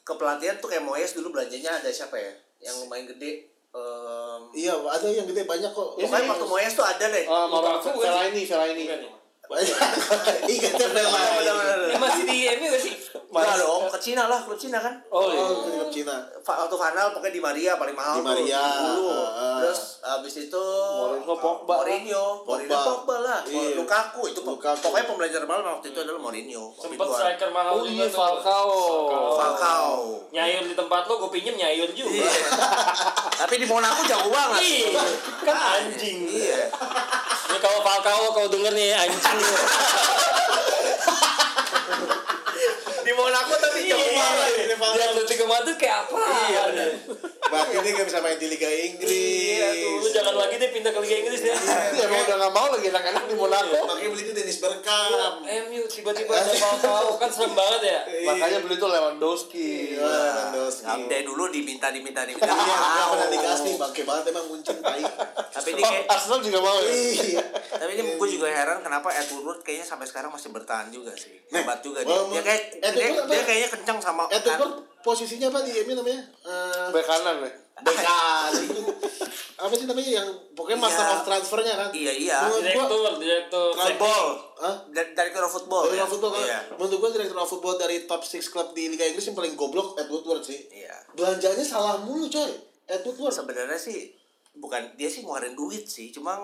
kepelatihan tuh kayak Moyes dulu belanjanya ada siapa ya? Yang lumayan gede. Em,
iya ada yang gede banyak kok
pokoknya waktu Moyes tuh ada deh.
ah, Mama
Lukaku kan?
Fellaini, Fellaini.
Bukan ya?
banyak iya kan
Oh, Udah, udah, udah.
Eh, masih di MU gak sih? Oh,
Enggak dong, ke Cina lah, klub Cina kan.
Oh iya.
oh ke Cina
Fa- Waktu final pokoknya di Maria paling
Di
mahal
Maria,
tuh. dulu.
ah.
Terus abis itu
Mourinho, Pogba.
Mourinho, Mourinho
Pogba.
Pogba lah.
Iya.
Lukaku itu pe-
Lukaku.
pokoknya pembelajaran mahal waktu itu adalah Mourinho.
Sempet
Waktu itu
striker mahal
Oh
juga
iya,
tuh.
Falcao.
Falcao.
Nyayur di tempat lo, gue pinjem nyayur juga.
Iya. Tapi di Monaco jago banget.
Iya, kan anjing.
Iya.
Ini kalau Falcao kau denger nih anjing.
Di Monaco tapi jago
Iya.
banget.
Iya,
Di Atletico Madrid kayak apa?
Iya.
Berarti dia nggak bisa main di Liga Inggris.
Iya tuh, lu jangan lagi deh pindah ke Liga Inggris ya.
Ya emang udah gak mau lagi enak-enak di Monaco.
Makanya beli itu Dennis Bergkamp.
MU tiba-tiba ada Falcao kan serem banget ya.
Makanya beli tuh Lewandowski.
Iya, Lewandowski.
Iya. Update dulu diminta diminta diminta.
Iya, dia pernah
Wow.
dikasih, bangke banget emang muncul tai.
Tapi ini
Oh,
kayak
Arsenal juga mau ya?
Iya.
tapi ini gue juga heran kenapa Edward Wood kayaknya sampai sekarang masih bertahan juga sih. Hebat juga dia.
Walaupun-
Dia kayak
Edward
dia,
Wood apa?
dia kayaknya kencang sama
Eh, tuh posisinya apa di MU namanya? Eh,
Bek kanan nih.
Bekan. apa sih namanya yang pokoknya master
Iya.
of transfernya kan?
Iya, iya.
Menurut gua,
Direktur, direktur.
football.
Hah?
Dari dari ke football.
Direktur
ya?
of football kan?
Iya.
Menurut gua direktur of football dari top 6 klub di Liga Inggris yang paling goblok Ed Woodward sih.
Iya.
Belanjanya salah mulu coy. Ed Woodward.
Sebenarnya sih bukan dia sih ngeluarin duit sih, cuma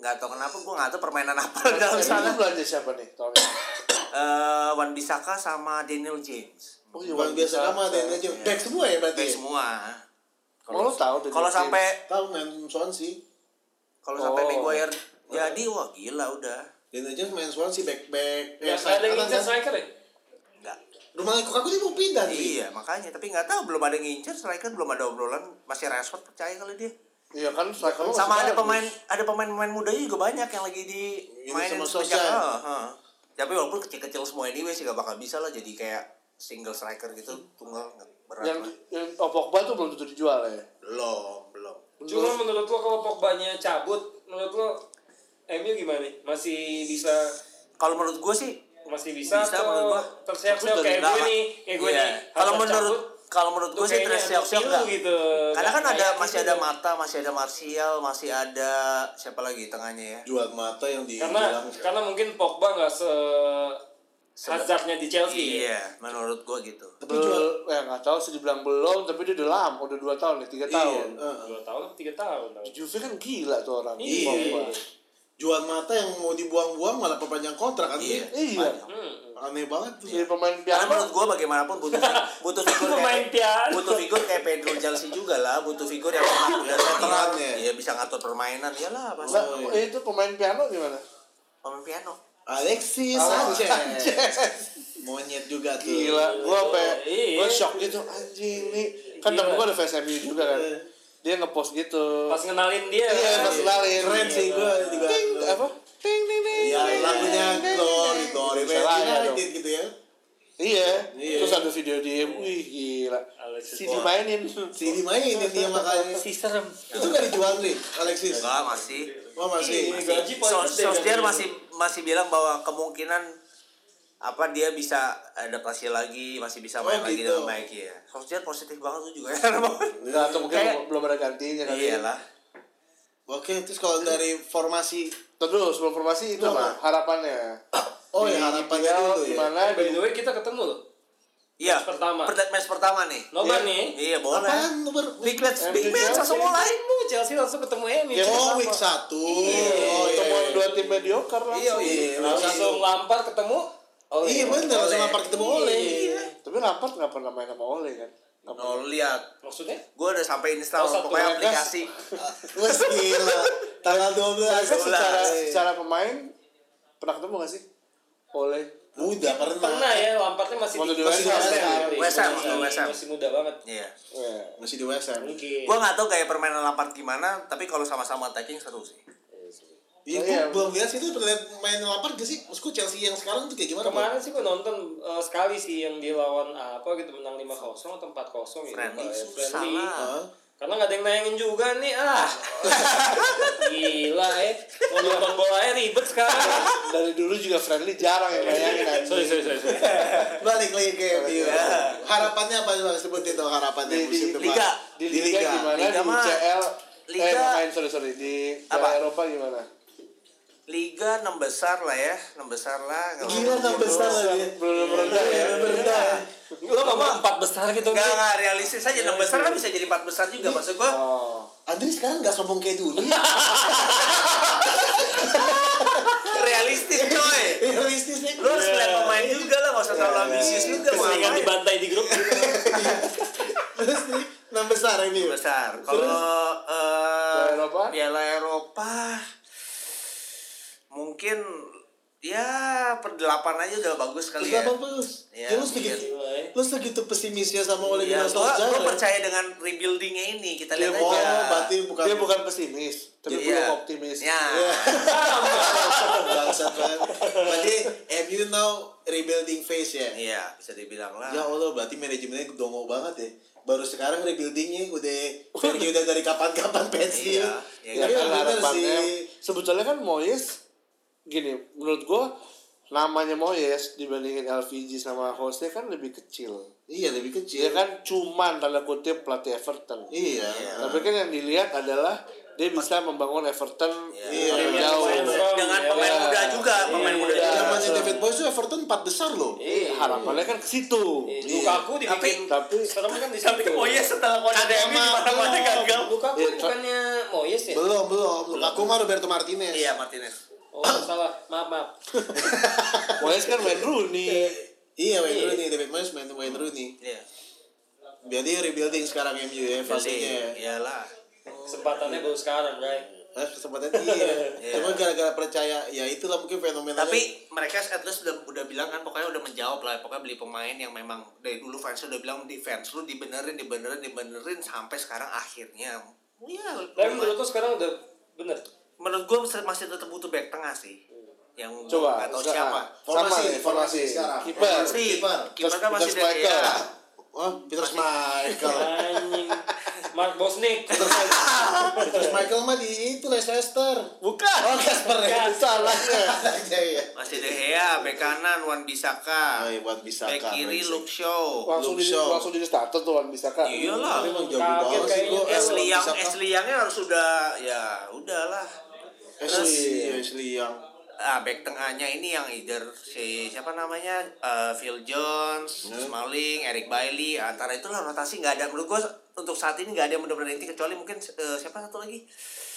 nggak tahu kenapa gue nggak tahu permainan apa dalam
Sana
sana.
belanja siapa nih tahun ini?
Eh, Wan Bisaka sama Daniel James.
Oh, iya,
Bukan biasa
bisa.
sama dan aja. Back semua ya berarti.
Baik semua.
Mau lo tahu Daniel
Kalau
James?
sampai
Tahu main Swansea.
kalau sampai
Oh.
Maguire jadi wah gila udah.
Dan aja main Swansea back back. Eh,
Ya, ada yang ngincer striker ya?
Enggak.
Rumah Lukaku dia mau pindah nih.
Iya, makanya tapi nggak tahu belum ada yang ngincer striker belum ada obrolan masih Rashford percaya kali dia.
Iya kan striker
Oh,
lo
Sama
masih
ada
bagus.
pemain ada pemain-pemain muda juga banyak yang lagi di mainin
sama
semenjak-
Sosa.
Heeh, heeh. Tapi walaupun kecil-kecil semua anyway sih gak bakal bisa lah jadi kayak single striker gitu tunggal nggak berat.
yang
lah.
yang oh, Pogba tuh belum tentu dijual ya.
Belum, belum.
Cuma menurut lo kalau Pogba-nya cabut, menurut lo MU gimana? Masih bisa
Kalau menurut gue sih
masih bisa,
Bisa, menurut
atau
gua.
terseok-seok
Maksudnya
kayak
nggak
gue
lah.
nih, kayak gue
Iya.
nih.
Kalau
Hazard
menurut
cabut,
kalau menurut
tuh
gue sih
kayaknya
terseok-seok
Lu
enggak.
gitu.
Karena kan
Nggak
ada
kayak
masih
gitu.
ada Mata, masih ada Martial, masih ada siapa lagi tengahnya ya?
Jual mata yang di
Karena
Iya.
karena mungkin Pogba nggak se Hazardnya di Chelsea. ya?
Iya, menurut gue gitu.
Tapi jual ya nggak tahu sih dibilang belum tapi dia udah lama udah 2 tahun nih
Iya,
3 tahun.
Dua tahun, tiga tahun.
Juve kan gila tuh orang.
Iya.
Pogba.
jual mata yang mau dibuang-buang malah perpanjang kontrak kan
Iya.
Iya.
Hmm.
aneh banget tuh
Jadi pemain
Karena
piala
menurut gue bagaimanapun butuh fi- butuh figur
Pemain
kayak
piano.
butuh figur kayak Pedro Chelsea juga lah, butuh figur yang udah setengah
Perannya.
ya bisa ngatur permainan ya lah
Enggak,
masa
Oh,
itu pemain piano gimana?
pemain piano.
Alexis Sanchez. monyet juga tuh
Gila, gua sampe
Iya.
gua shock gitu anjing nih. Kan
Gila.
temen gua ada fans MU juga kan.
Iya.
Dia ngepost gitu.
Pas ngenalin dia.
Iya,
kan?
pas ngenalin.
keren sih gua juga
Ting, apa? Ting ting ting.
ya
ting,
lagunya
ting, ting,
glory
ting.
glory
Iya, Salahnya dong.
United gitu ya
Iya.
Iya.
Terus ada video dia, wih gila.
Alexis
Si
Wong.
dimainin.
si dimainin dia makanya
Si serem.
itu nggak dijual nih Alexis
Enggak masih.
oh masih
Iya. Gaji paling
Sol-
gede
Solskjaer
dari-
masih masih bilang bahwa kemungkinan apa dia bisa adaptasi lagi, masih bisa main
Oh,
lagi
gitu.
dengan baik ya. Solskjaer positif banget tuh juga ya.
Enggak, Nah, atau mungkin
Kayak-
belum ada gantinya kali. ya.
Iyalah.
oke terus kalau dari formasi
Terus sebelum formasi itu
Belum, ah.
mah harapannya.
oh
Di
ya harapannya
IPL
dulu ya
Iya, Gimana?
By the way kita ketemu loh.
Iya.
Match pertama.
Perta- match pertama nih.
Nobar
Iya.
nih.
Iya, boleh.
apaan Uber
Big match, big
MU
match, langsung
Dari
mulai.
dulu Chelsea langsung ketemu MU.
Iya.
oh
Sama.
week satu oh iya
Pertemuan dua tim mediocre langsung.
iya.
Langsung lampar ketemu. Oh, Oleh.
iya bener langsung
Oleh.
lapar ketemu oleh
Iya.
Tapi Lampard nggak pernah main sama Ole kan? Nggak pernah.
Nol lihat.
Maksudnya?
Gue udah sampai install
Oh, satu
pokoknya
bekas.
aplikasi.
Wes gila. Tanggal 12.
Tapi secara
Iya.
secara pemain pernah ketemu nggak sih? Ole.
muda pernah.
Pernah ya, Lampardnya masih
Waktu di
masih
West Ham.
kali.
West Ham,
Masih-
waktu West Ham.
Masih muda banget.
Iya.
Ya.
Masih di West Ham.
Mungkin.
Gue nggak tahu kayak permainan Lampard gimana, tapi kalau sama-sama attacking seru sih.
Eh,
Iya,
Iya.
gua belum lihat sih itu pernah lihat main lapar gak sih? Maksudku Chelsea yang sekarang tuh kayak gimana? Bang?
Kemarin sih gue nonton eh, sekali sih yang dilawan apa gitu menang 5-0 atau 4-0 gitu.
Friendly,
Pak, ya,
susah
friendly.
lah.
Hah?
Karena nggak ada yang nayangin juga nih ah. Gila eh. Mau nonton bola aja ribet sekarang.
Dari dulu juga friendly jarang yang bayangin aja.
sorry, sorry, sorry. sorry.
Balik lagi ke MU. Harapannya apa sih Bang? sebutin tuh harapannya
Di- di-
musim depan.
Liga.
Di Liga, gimana?
Liga
di
mah-
UCL. Eh,
Liga-
main sorry sorry di Piala
Apa?
Eropa gimana?
Liga enam besar lah ya, enam besar lah. Nggak
Gila
mau-
enam besar lagi. Iya.
Belum rendah ya.
Rendah.
Lo ngomong empat besar gitu
Nggak,
kan?
nggak, realistis aja. Enam besar kan bisa jadi empat besar juga. Maksud gue,
Oh.
Andri sekarang gak sombong kayak dulu. ya.
realistis coy.
Realistis nih.
Lu harus lihat pemain juga lah, nggak usah terlalu ambisius juga. mau Iya,
Keseringan
ngapain.
dibantai di grup.
Terus nih, enam besar MU.
besar. Kalau eh
Piala Eropa?
Piala Eropa mungkin ya per delapan aja udah bagus kali ya.
Tiga bagus.
Iya,
Ya, lu
iya.
segitu,
eh.
lu segitu pesimisnya sama Ole
Iya,
Gunnar
gua,
Solskjaer.
gua percaya dengan rebuildingnya ini. Kita
Dia
lihat
bohong, oh,
aja.
Ya, berarti bukan. Iya.
Dia bukan pesimis, tapi
Iya.
belum optimis.
Ya.
Bangsat banget. Berarti MU now rebuilding phase ya.
Iya, bisa dibilang lah.
Ya Allah, berarti manajemennya dongo banget ya. Baru sekarang rebuildingnya udah pergi udah dari kapan-kapan pensiun.
Iya, iya,
Tapi
Ya, kan
yang bener
harapannya
sih.
sebetulnya kan Moyes gini menurut gua namanya Moyes dibandingin LVG sama Jose kan lebih kecil.
Iya lebih kecil
Dia kan cuman tanda kutip pelatih Everton.
Iya.
Tapi kan yang dilihat adalah dia bisa membangun Everton
Iya.
lebih jauh.
Iya.
Dengan pemain
Iya.
muda juga, pemain
Iya.
muda
Iya.
juga.
Zamannya David Boyce tuh Everton 4 besar loh.
Eh, harapannya kan ke situ.
Iya.
Iya.
Lukaku dibikin
Tapi
serem kan di
Tapi
situ.
Moyes oh iya, setelah Moyes
Ada
di
emang,
mana-mana
belum.
gagal.
kan? Lukaku
Iya, Cok.
bukannya Moyes ya?
Belum, belum. Aku mah Roberto Martinez.
Iya, Martinez.
Oh, salah. Maaf, maaf.
Moyes kan main Rooney.
Iya, Wayne Rooney, David Moyes main Wayne Rooney.
Iya.
Jadi rebuilding sekarang MU ya
Iya.
fasenya.
Iyalah.
Kesempatannya baru sekarang, Bray.
Eh, kesempatan iya.
Iya.
Cuma gara-gara percaya, ya itulah mungkin fenomena.
Tapi mereka at least udah, udah bilang kan pokoknya udah menjawab lah pokoknya beli pemain yang memang dari dulu fans udah bilang defense lu dibenerin dibenerin dibenerin sampai sekarang akhirnya ya
Tapi
lumayan.
menurut lu sekarang udah bener.
menurut gua masih tetap butuh back tengah sih yang
Coba
gak tahu
sekarang.
siapa
Sama
Formasi,
nih, formasi.
formasi sekarang.
Kiper.
sih
Kiper.
kiper kan
Terus-
masih
terus
dari
striker.
ya.
Oh, Peter Michael.
Anjing. Mark Bosnick.
Peter Michael mah di itu Leicester.
bukan
Oh, Casper ya.
Salahnya.
Iya, iya.
masih De Gea, back kanan Wan Bisaka,
Oh, iya, Wan Bisaka,
back kiri
amazing.
Luke Shaw.
Langsung di
Luke Shaw.
langsung di starter tuh kan, Wan Bisaka.
Tapi
Iyalah.
emang jago
Kaget
banget sih
kayaknya
gua. Eh,
Ashley yang
Wan-Bissaka.
Ashley Youngnya harus sudah ya udahlah.
Ashley, iya, Ashley yang
Ah, back tengahnya ini yang either si siapa namanya Eh, Phil Jones,
Hmm.
Smalling, Eric Bailey antara itulah rotasi nggak ada menurut gua untuk saat ini nggak ada yang benar-benar inti kecuali mungkin eh, siapa satu lagi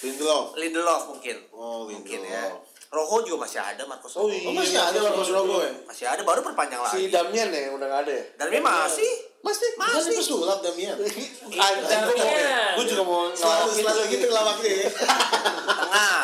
Lindelof.
Lindelof mungkin
Oh,
mungkin
Lindelof.
ya Rojo juga masih ada Marcos
Oh,
Iya,
Rojo.
Oh, masih ada Marcos Rojo ya?
masih ada baru perpanjang
Si
lagi
Damian ya yang udah gak ada ya?
dan dia masih
Masih,
Bukan itu sulap Damian.
Anjing gue mau,
Damian.
gue juga mau
Selalu
ngelawan
selalu gitu lawaknya ya.
tengah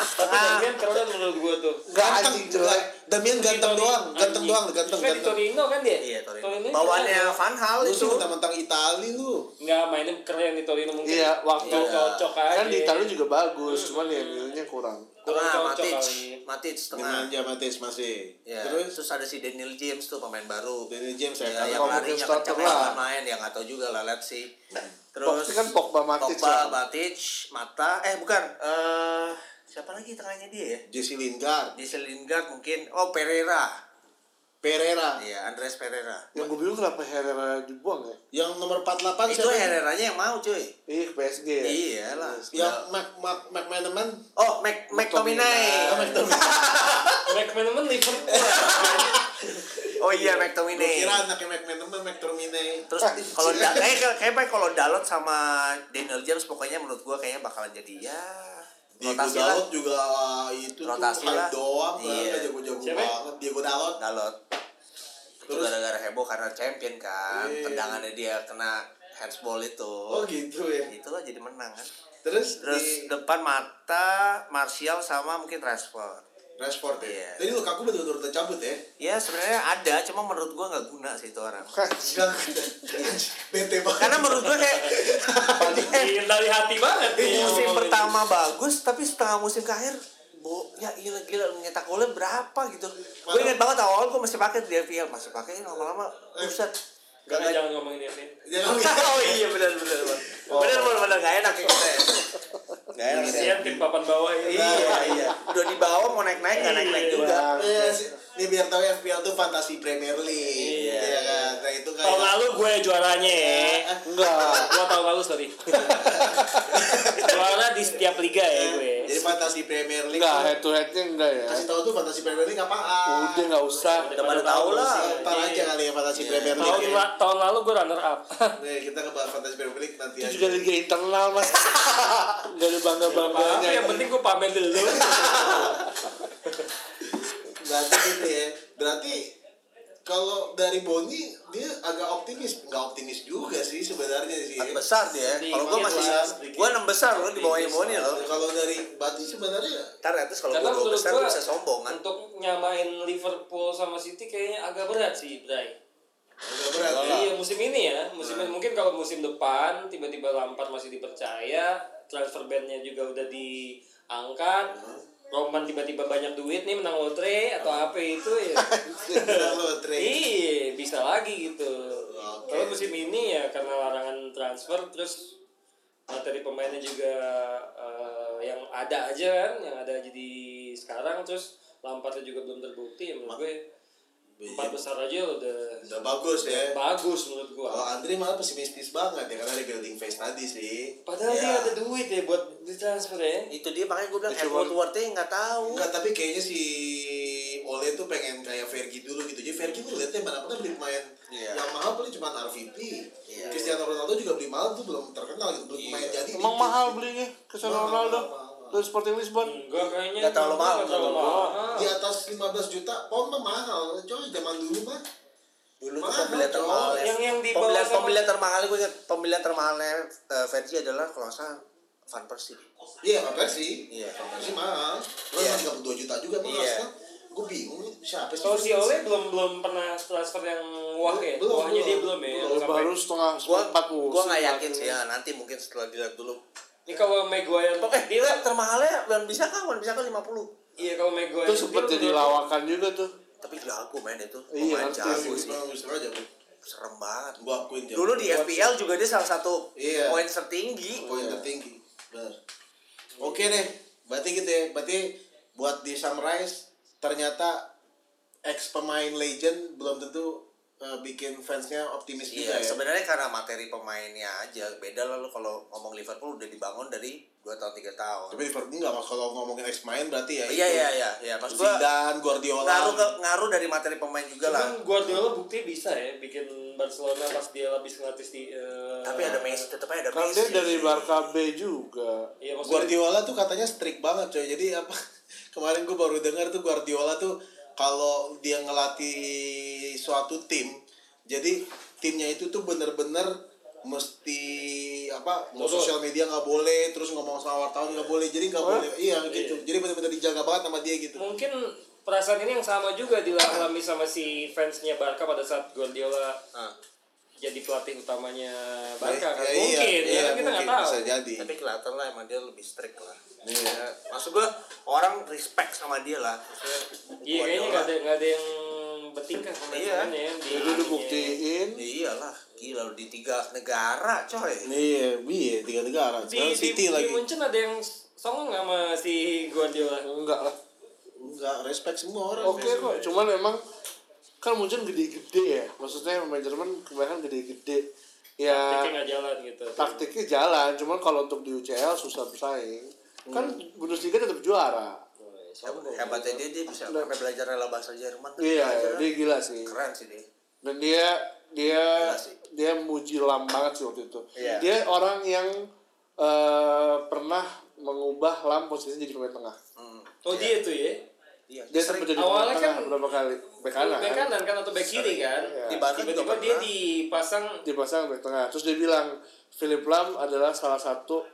Tapi
tengah
Damian keren menurut gua tuh.
Gak
Ganteng,
anjing jelek.
Damian ganteng
Di Torino.
doang, ganteng
Anjing.
doang, ganteng
Kan di
ganteng.
Torino kan dia?
Iya, Torino.
keren.
Bawaannya Van Hal
Lu
itu.
sih mentang-mentang Itali lu.
Enggak, mainnya keren di Torino mungkin.
Iya, waktu
Nggak cocok aja.
kan di Italia juga bagus, cuman ya nilainya kurang.
Kurang cocok
Tengah Matic,
kali.
Matic tengah.
Dengan Jamatis masih.
Ya,
Terus
terus ada si Daniel James tuh pemain baru.
Daniel James ya,
Ya,
karena
yang
kalau
larinya
mungkin
kencang
starter
yang
lah.
akan main ya nggak tahu juga lah let's see. Terus
Pasti kan Pogba, Matic
Pogba,
lah.
Matic, Mata, eh bukan eh siapa lagi tengahnya dia ya?
Jesse Lingard,
Diesel Lingard mungkin. Oh, Pereira.
Pereira.
Iya, Andres Pereira.
Yang gue bingung kenapa Herrera dibuang ya?
Yang nomor 48
Itu
siapa?
Herreranya yang mau, cuy.
Ih, PSG ya?
Iyalah.
Yang Mac Mac Mac Manaman.
Oh, Mac McTominay.
McManaman Liverpool.
Oh iya,
Gua
McTominay.
kira anaknya Mac Manaman, Mac Eh, Terminay.
Terus kalau eh, da kayak kayak- kayak baik kalau Dalot sama Daniel James pokoknya menurut gua kayaknya bakalan jadi ya
Diego
rotasi lah.
Dalot juga ah, itu tuh
Rotasi lah.
hype doang,
Iya.
nggak jago-jago
Siapa?
banget. Diego Dalot.
Dalot. Itu
Terus?
gara-gara heboh karena champion kan.
Iya.
Tendangannya dia kena handsball itu.
Oh gitu ya.
Itulah jadi menang kan.
Terus, di
Terus depan mata Martial sama mungkin Rashford.
Rashford
Iya.
ya. Jadi Lukaku betul-betul tercabut ya.
Ya sebenarnya ada, cuma menurut gua nggak guna sih itu orang.
Enggak. Bete banget.
Iya. Karena menurut gua kayak Eh,
Dingin dari hati banget.
Di
nih.
musim pertama bagus, tapi setengah musim ke akhir bo ya gila gila nyetak golnya berapa gitu. Gue inget banget awal gue masih pakai di FPL, masih pakai lama-lama buset.
Enggak, enggak, jangan ngomongin dia, Vin.
Jangan
oh iya benar benar benar. Benar benar benar enggak enak ya kita ya. Enggak enak ya.
Kasihan tim papan bawah ini.
Iya iya. Udah di bawah mau naik-naik enggak naik-naik juga.
Iya sih. Ini biar tahu FPL tuh fantasi Premier League.
Iya.
Iya kan. Nah itu kan.
Tahun lalu gue juaranya ya.
Eh,
Enggak.
Dua tahun lalu sorry. Juara di setiap liga ya gue.
Jadi fantasi Premier League.
Enggak, head
tuh,
to headnya enggak ya?
Kasih tahu tuh fantasi Premier League apaan?
Udah nggak usah.
Udah pada tahu lah.
Ntar aja kali ya fantasi Premier
Iya. Tahun,
League. Ya.
la- tahun lalu gue runner up.
Nih, kita ngebahas fantasi Premier League nanti
Itu
aja.
juga liga internal mas. Enggak ada bangga
Tapi
bangganya.
yang penting gue pamer dulu.
Berarti gitu ya. Berarti Kalau dari Boni dia agak optimis, nggak optimis juga sih sebenarnya sih.
Empat besar dia. ya.
Sedikit,
Kalau gue masih
sedikit,
sedikit.
gue enam besar lo di bawah
Sedikit,
Imoni lo.
Kalau dari Bati sebenarnya
Ntar atas kalau
Karena
gue dua
menurut
besar
gua-
gua bisa sombong kan.
Untuk nyamain Liverpool sama City kayaknya agak berat sih, Bray.
agak berat ya.
Iya musim ini ya, musim mungkin kalau musim depan tiba-tiba Lampard masih dipercaya, transfer bandnya juga udah diangkat, Roman tiba-tiba banyak duit nih menang lotre atau apa itu ya.
Lotre.
iya bisa lagi gitu.
Oke.
Kalau musim ini ya karena larangan transfer terus materi pemainnya juga eh, yang ada aja kan, yang ada jadi sekarang terus Lampardnya juga belum terbukti ya menurut gue empat besar aja udah
Udah bagus ya.
bagus menurut gua
Kalau Andri malah pesimistis banget ya karena ada building phase tadi sih. Ya.
padahal dia ada duit ya buat ditransfer ya
Itu dia makanya gue bilang
Cuma-
Edward Ward nya nggak tahu.
Enggak, tapi kayaknya si Ole tuh pengen kayak Fergie dulu gitu. Jadi Fergie tuh liatnya mana mana beli pemain
Iya.
yang mahal paling cuma RVP.
Iya.
Cristiano Ronaldo juga beli mahal tuh belum terkenal gitu, belum pemain jadi.
Emang
dikit.
mahal belinya Cristiano
Mahal,
Ronaldo.
mahal, mahal.
Terus Sporting Lisbon.
enggak kayaknya Iya.
Nggak terlalu mahal,
Nggak terlalu
menurut gua.
mahal.
Di atas 15 juta pound mah mahal. Coy, zaman dulu mah
Dulu tuh
Mahal,
pembelian
coy.
termahal ya.
Yang- yang di bawah
pembelian
sama-
pembelian termahal gue ingat pembelian termahalnya eh, Fergie adalah kalau nggak salah Van Persie.
Iya, Van Persie.
Iya.
Van Persie mahal. Lu
Iya.
yeah. 32 juta juga mahal
Iya.
sekarang. Gue bingung nih, siapa sih?
kalau si Ole belum belum pernah transfer yang wah ya
Belum,
wahnya dia
belum.
belum ya
Belum,
Sampai-
Baru setengah
Gue
empat musim.
gue nggak yakin
lagi.
sih ya nanti mungkin setelah dilihat dulu.
ini kalau Maguire
Eh dia kan termahalnya Wan bisa kan Wan bisa kan 50
iya kalau Maguire
Itu sempat jadi
ya,
lawakan juga tuh.
tapi jago main itu
Iya,
pemain
ngerti
jago
Gue
sih
aja, Bu.
serem banget
Gua akuin dia.
dulu di FPL juga dia salah satu
Iya.
poin tertinggi
poin tertinggi. Benar. Oke deh, berarti gitu ya. Berarti buat di summarize ternyata ex pemain legend belum tentu eh, bikin fansnya optimis juga
Iya,
ya.
sebenarnya karena materi pemainnya aja beda lah lu kalau ngomong Liverpool udah dibangun dari 2 tahun 3 tahun.
Tapi Liverpool enggak mas kalau ngomongin ex pemain berarti ya.
Iya, iya, iya, iya. Maksud gua
Zidane, Guardiola.
ngaruh ke, ngaruh dari materi pemain
Iya
juga lah.
kan Guardiola bukti bisa ya bikin Barcelona pas dia habis ngelatih di eh,
Tapi ada Messi, tetap aja ada
Kan
Messi.
dia dari Barca B juga.
iya maksudnya
Guardiola tuh katanya strict banget coy. Jadi apa kemarin gue baru dengar tuh Guardiola tuh kalau dia ngelatih suatu tim, jadi timnya itu tuh bener-bener mesti apa mau
Turun.
sosial media nggak boleh terus ngomong sama wartawan nggak boleh jadi nggak boleh iya gitu jadi bener-bener dijaga banget sama dia gitu
mungkin perasaan ini yang sama juga dialami sama si fansnya Barca pada saat Guardiola
Ah,
jadi pelatih utamanya Barca kan
Ya,
mungkin ya kan kita nggak
mungkin
tahu
bisa jadi
tapi kelihatan lah emang dia lebih strict lah.
Iya.
Ya, maksud gua orang respect sama dia lah. Maksudnya
iya kayaknya nggak ada nggak ada yang bertingkah sama
Iya.
ya di
Jadi dibuktiin.
Ya iyalah, gila lu di tiga negara coy.
iya iya tiga negara
di,
sekarang
di,
City
di
lagi
Munchen ada yang songong sama si Guardiola
Enggak lah.
nggak respect semua orang
Oke kok, cuman emang kan muncul gede-gede ya. Maksudnya pemain Jerman kebanyakan gede-gede. Ya
kayak nggak jalan
Nah.
gitu
taktiknya jalan, cuman kalau untuk di UCL susah bersaing. Kan Bundesliga tetap juara.
Hebatnya dia dia bisa sampai belajar rela bahasa Jerman.
Iya,
Belajar.
dia gila sih.
keren sih dia.
Dan dia dia
Gila sih.
dia muji Lam banget sih waktu itu.
Iya.
Dia orang yang eh, pernah mengubah Lam posisinya jadi pemain tengah.
Hmm.
oh dia tuh ya
Iya,
Dia
sering
sempat jadi
Awalnya
pemain tengah
kan-
beberapa kali. Bek kanan.
bek kanan kan atau bek kiri kan
Iya.
di Barca juga
tiba-tiba
pernah.
dia dipasang
dipasang back tengah terus dia bilang Philip Lam adalah salah satu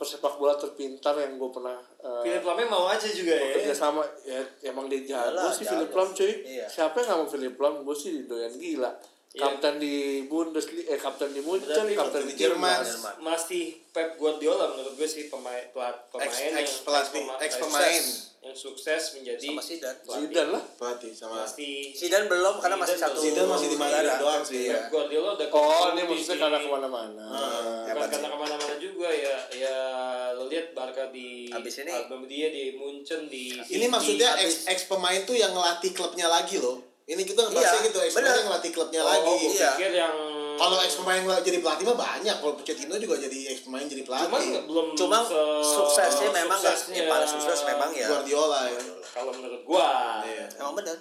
persepak bola terpintar yang gue pernah eh,
Philip Lamnya mau aja juga
kerja
ya
sama ya emang dia jago
Iyalah,
sih
jago.
Philip Lam cuy
Iya.
siapa yang nggak mau Philip Lam gue sih doyan gila
Iya.
kapten di Bundesliga eh kapten di Munchen
Berarti
kapten
waktu
di
di Jerman.
Jerman
Jerman.
masih Pep Guardiola menurut gue sih pemain pelat pemain
ex
yang
ex pelatih
pema-
ex pemain
sukses- yang sukses menjadi
sama Sidan.
Zidane lah
pelatih sama
pasti
Sidan belum karena masih
Zidane
satu.
belum.
Zidane masih di Madrid
negara.
doang sih,
Iya.
ya.
Pep Guardiola udah
oh
ketemu
ini
di- Iya.
maksudnya karena kemana-mana
bukan
Hebat
karena
sih.
kemana-mana juga ya ya lo lihat Barca di
Habis ini.
album dia di Munchen di
Ini
City.
maksudnya
habis-
ex, ex pemain tuh yang ngelatih klubnya lagi loh. Ini kita ngebahasnya
Iya,
gitu, ex
bener.
pemain yang ngelatih klubnya
oh,
lagi.
gua
iya.
pikir yang
Kalau ex pemain nggak jadi pelatih mah banyak. Kalau Pochettino juga jadi ex pemain jadi pelatih.
cuman belum
Cuma
se-
suksesnya memang nggak
suksesnya
yang paling sukses memang ya.
Guardiola ya.
kalau menurut gua
Iya.
Emang benar.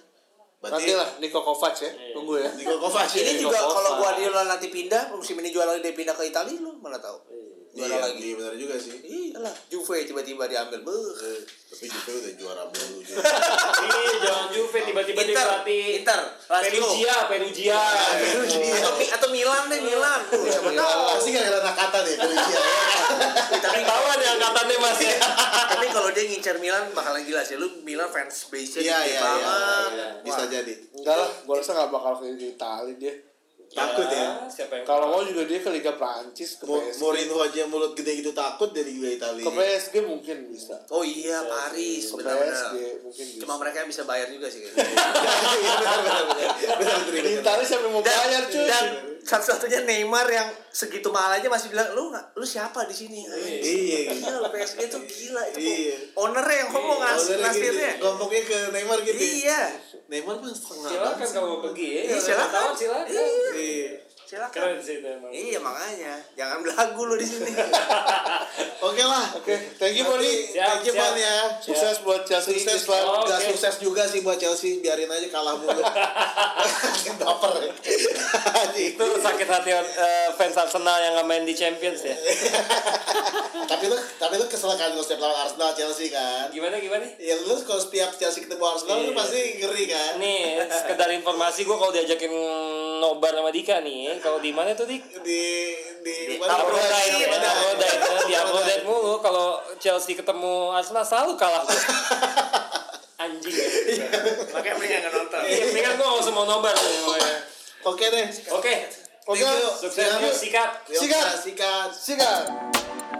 Berarti
nanti lah Niko Kovac ya
Iya.
tunggu ya
Niko Kovac ya.
Ini juga
Copa.
kalau Guardiola nanti pindah musim ini juara lagi dia pindah ke Italia lu mana tahu.
Iya,
Juara lagi.
iya benar juga sih.
Iyalah, Juve tiba-tiba diambil. Beuh.
Tapi Juve udah juara mulu. Juve.
Ih, jangan Juve tiba-tiba dia
Inter,
pelatih
Inter, Iya, Lazio.
Perugia, Perugia.
Iya.
atau, Mi- atau Milan deh Milan tuh siapa
Nah,
tahu
pasti gak ada kata deh Felicia. ya.
Tapi tahu ada angkatannya masih.
Iya. tapi kalau dia ngincer Milan bakalan gila sih lu Milan fans
Iya
base nya
iya
gede
iya.
banget
Bisa
Wah,
jadi.
Enggak lah, gue rasa nggak bakal ke Itali dia.
Iya.
Takut ya.
Siapa yang
Kalau mau juga dia ke Liga Prancis ke
Mo-
PSG.
Mourinho aja yang mulut gede gitu takut dari Liga Italia.
Ke PSG mungkin bisa.
oh iya Paris
Ke PSG
benar-benar
mungkin bisa.
cuma mereka yang bisa bayar juga sih kayaknya.
Iya, benar, benar, benar. Benar, benar,
di
benar.
Itali siapa yang mau
dan,
bayar cuy?
dan satu-satunya Neymar yang segitu mahal aja masih bilang lu nggak- lu siapa di sini
Iya.
gila lu PSG itu gila itu
Iya.
ownernya yang ngomong
Kalau
nas-
dari
nasirnya
gitu, Ngomongnya ke Neymar gitu.
iya
Neymar pun setengah.
silakan
banget.
kamu pergi ya.
Iya, silakan.
Tahun silakan.
Iya.
Iya.
Keren
silakan
sih itu emang.
iya makanya jangan belagu lu di sini
Oke lah.
Oke, thank you Boni.
Siap,
Thank you
siap.
Bon ya.
Sukses buat Chelsea
Sukses
Islam.
lah, gak
Oke.
sukses juga sih buat Chelsea, biarin aja kalah mulu. Baper ya.
Itu sakit hati eh, fans Arsenal yang nggak main di Champions ya.
tapi lu tapi lu kesel kan kalau setiap lawan Arsenal Chelsea kan.
Gimana gimana?
Ya lu kalau setiap Chelsea ketemu Arsenal lu
Iya.
pasti ngeri kan.
Nih, sekedar informasi gue kalau diajakin nobar sama Dika nih, kalau di mana tuh Dik?
Di di Iya,
Kalau
Di- di-
Dine, di Abrodite, di Abrodite mulu. Kalau Chelsea ketemu Arsenal selalu kalah. Anjing.
Iya,
makanya mendingan nggak nonton
Iya, mendingan gue nggak usah mau nobar. nih, pokoknya.
Oke deh.
Oke,
Thank you.
sukses
Siap.
sikat.
Sikat. Sikat.
Sikat.